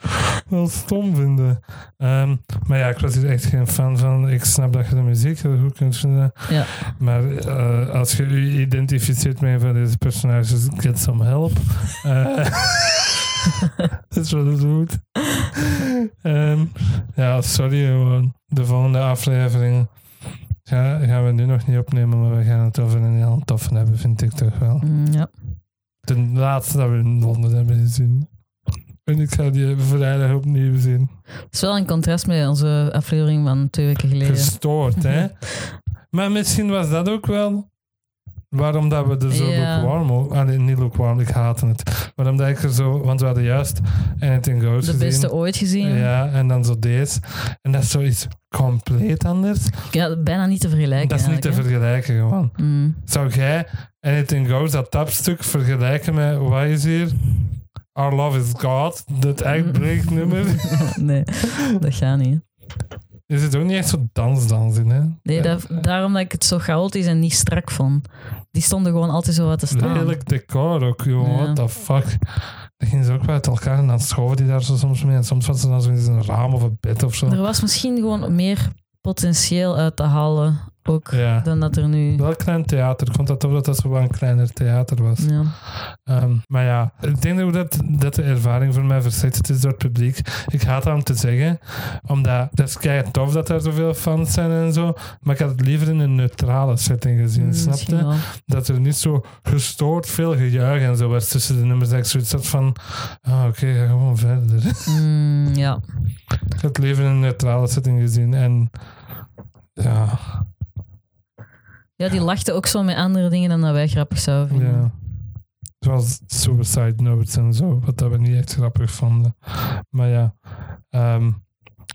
S1: wel stom vinden. Ehm, maar ja, ik was hier echt geen fan van. Ik snap dat je de muziek heel goed kunt vinden.
S2: Ja.
S1: Maar eh, als je u identificeert met een van deze personages, get some help. Eh, Dat is wat het doet. Ehm, ja, sorry gewoon. De volgende aflevering ga- gaan we nu nog niet opnemen, maar we gaan het over een heel toffe hebben, vind ik toch wel.
S2: Mm, ja.
S1: De laatste dat we in Londen hebben gezien. En ik ga die vrijdag opnieuw zien.
S2: Het is wel een contrast met onze aflevering van twee weken geleden.
S1: Gestoord, hè? maar misschien was dat ook wel waarom dat we er zo
S2: Ja.
S1: lukewarm over... Allee, niet lukewarm, ik haatte het. Waarom dat ik er zo... Want we hadden juist Anything Goes
S2: De
S1: gezien.
S2: beste ooit gezien. Ja.
S1: Ja, en dan zo deze. En dat is zoiets compleet anders.
S2: bijna niet te vergelijken.
S1: dat is niet te
S2: eigenlijk,
S1: vergelijken, gewoon.
S2: hè. Mm.
S1: Zou jij Anything Goes, dat tapstuk, vergelijken met... Wat is hier? Our Love is God, dat
S2: Mm.
S1: eindbreeknummer.
S2: nee, dat gaat niet. hè.
S1: Er zit ook niet echt zo'n dansdans in, hè?
S2: Nee, dat- daarom dat ik het zo chaotisch en niet strak vond. Die stonden gewoon altijd zo wat te staan.
S1: Lelijk decor ook, joh.
S2: Ja.
S1: What the fuck. Dat gingen ze ook wel uit elkaar en dan schoven die daar zo soms mee. En soms was ze dan zo in een raam of een bed of zo.
S2: Er was misschien gewoon meer potentieel uit te halen ook
S1: Ja.
S2: dan dat er nu.
S1: Wel klein theater. Ik vond dat toch dat dat zo wel een kleiner theater was.
S2: Ja.
S1: Ehm, maar ja, ik denk ook dat, dat de ervaring voor mij verzet is door het publiek. Ik haat dat om te zeggen, omdat dat is kei tof dat er zoveel fans zijn en zo. Maar ik had het liever in een neutrale setting gezien,
S2: Mm,
S1: snap
S2: misschien
S1: je?
S2: wel.
S1: dat er niet zo gestoord veel gejuich en zo was tussen de nummers. Dat ik zoiets had van, ah, oké, ga gewoon verder.
S2: Mm, ja.
S1: ik had het leven in een neutrale setting gezien en ja,
S2: ja, die lachten ook zo met andere dingen dan dat wij grappig zouden vinden.
S1: ja. Zoals suicide notes en zo, wat dat we niet echt grappig vonden. Maar ja, ehm,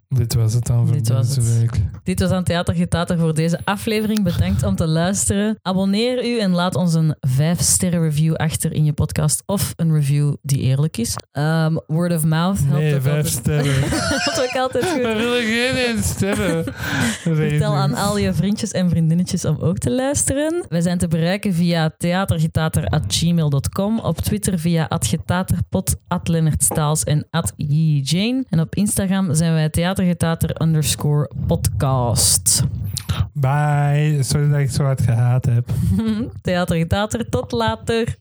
S1: dit was het dan voor
S2: Dit was
S1: deze
S2: het.
S1: week.
S2: Dit was aan Theater Getater voor deze aflevering. Bedankt om te luisteren. Abonneer u en laat ons een 5-sterren review achter in je podcast. Of een review die eerlijk is. Ehm, word of mouth helpt
S1: Nee,
S2: ook
S1: vijf
S2: altijd.
S1: sterren.
S2: helpt ook altijd goed.
S1: We willen geen één sterren.
S2: Vertel aan al je vriendjes en vriendinnetjes om ook te luisteren. Wij zijn te bereiken via theatergetater.gmail.com, op Twitter via @getaterpot, @leonardstaals en @yijane. En op Instagram zijn wij theatergetater underscore podcast.
S1: Bye. Sorry dat ik zo hard gehaat heb.
S2: Theatergetater, tot later!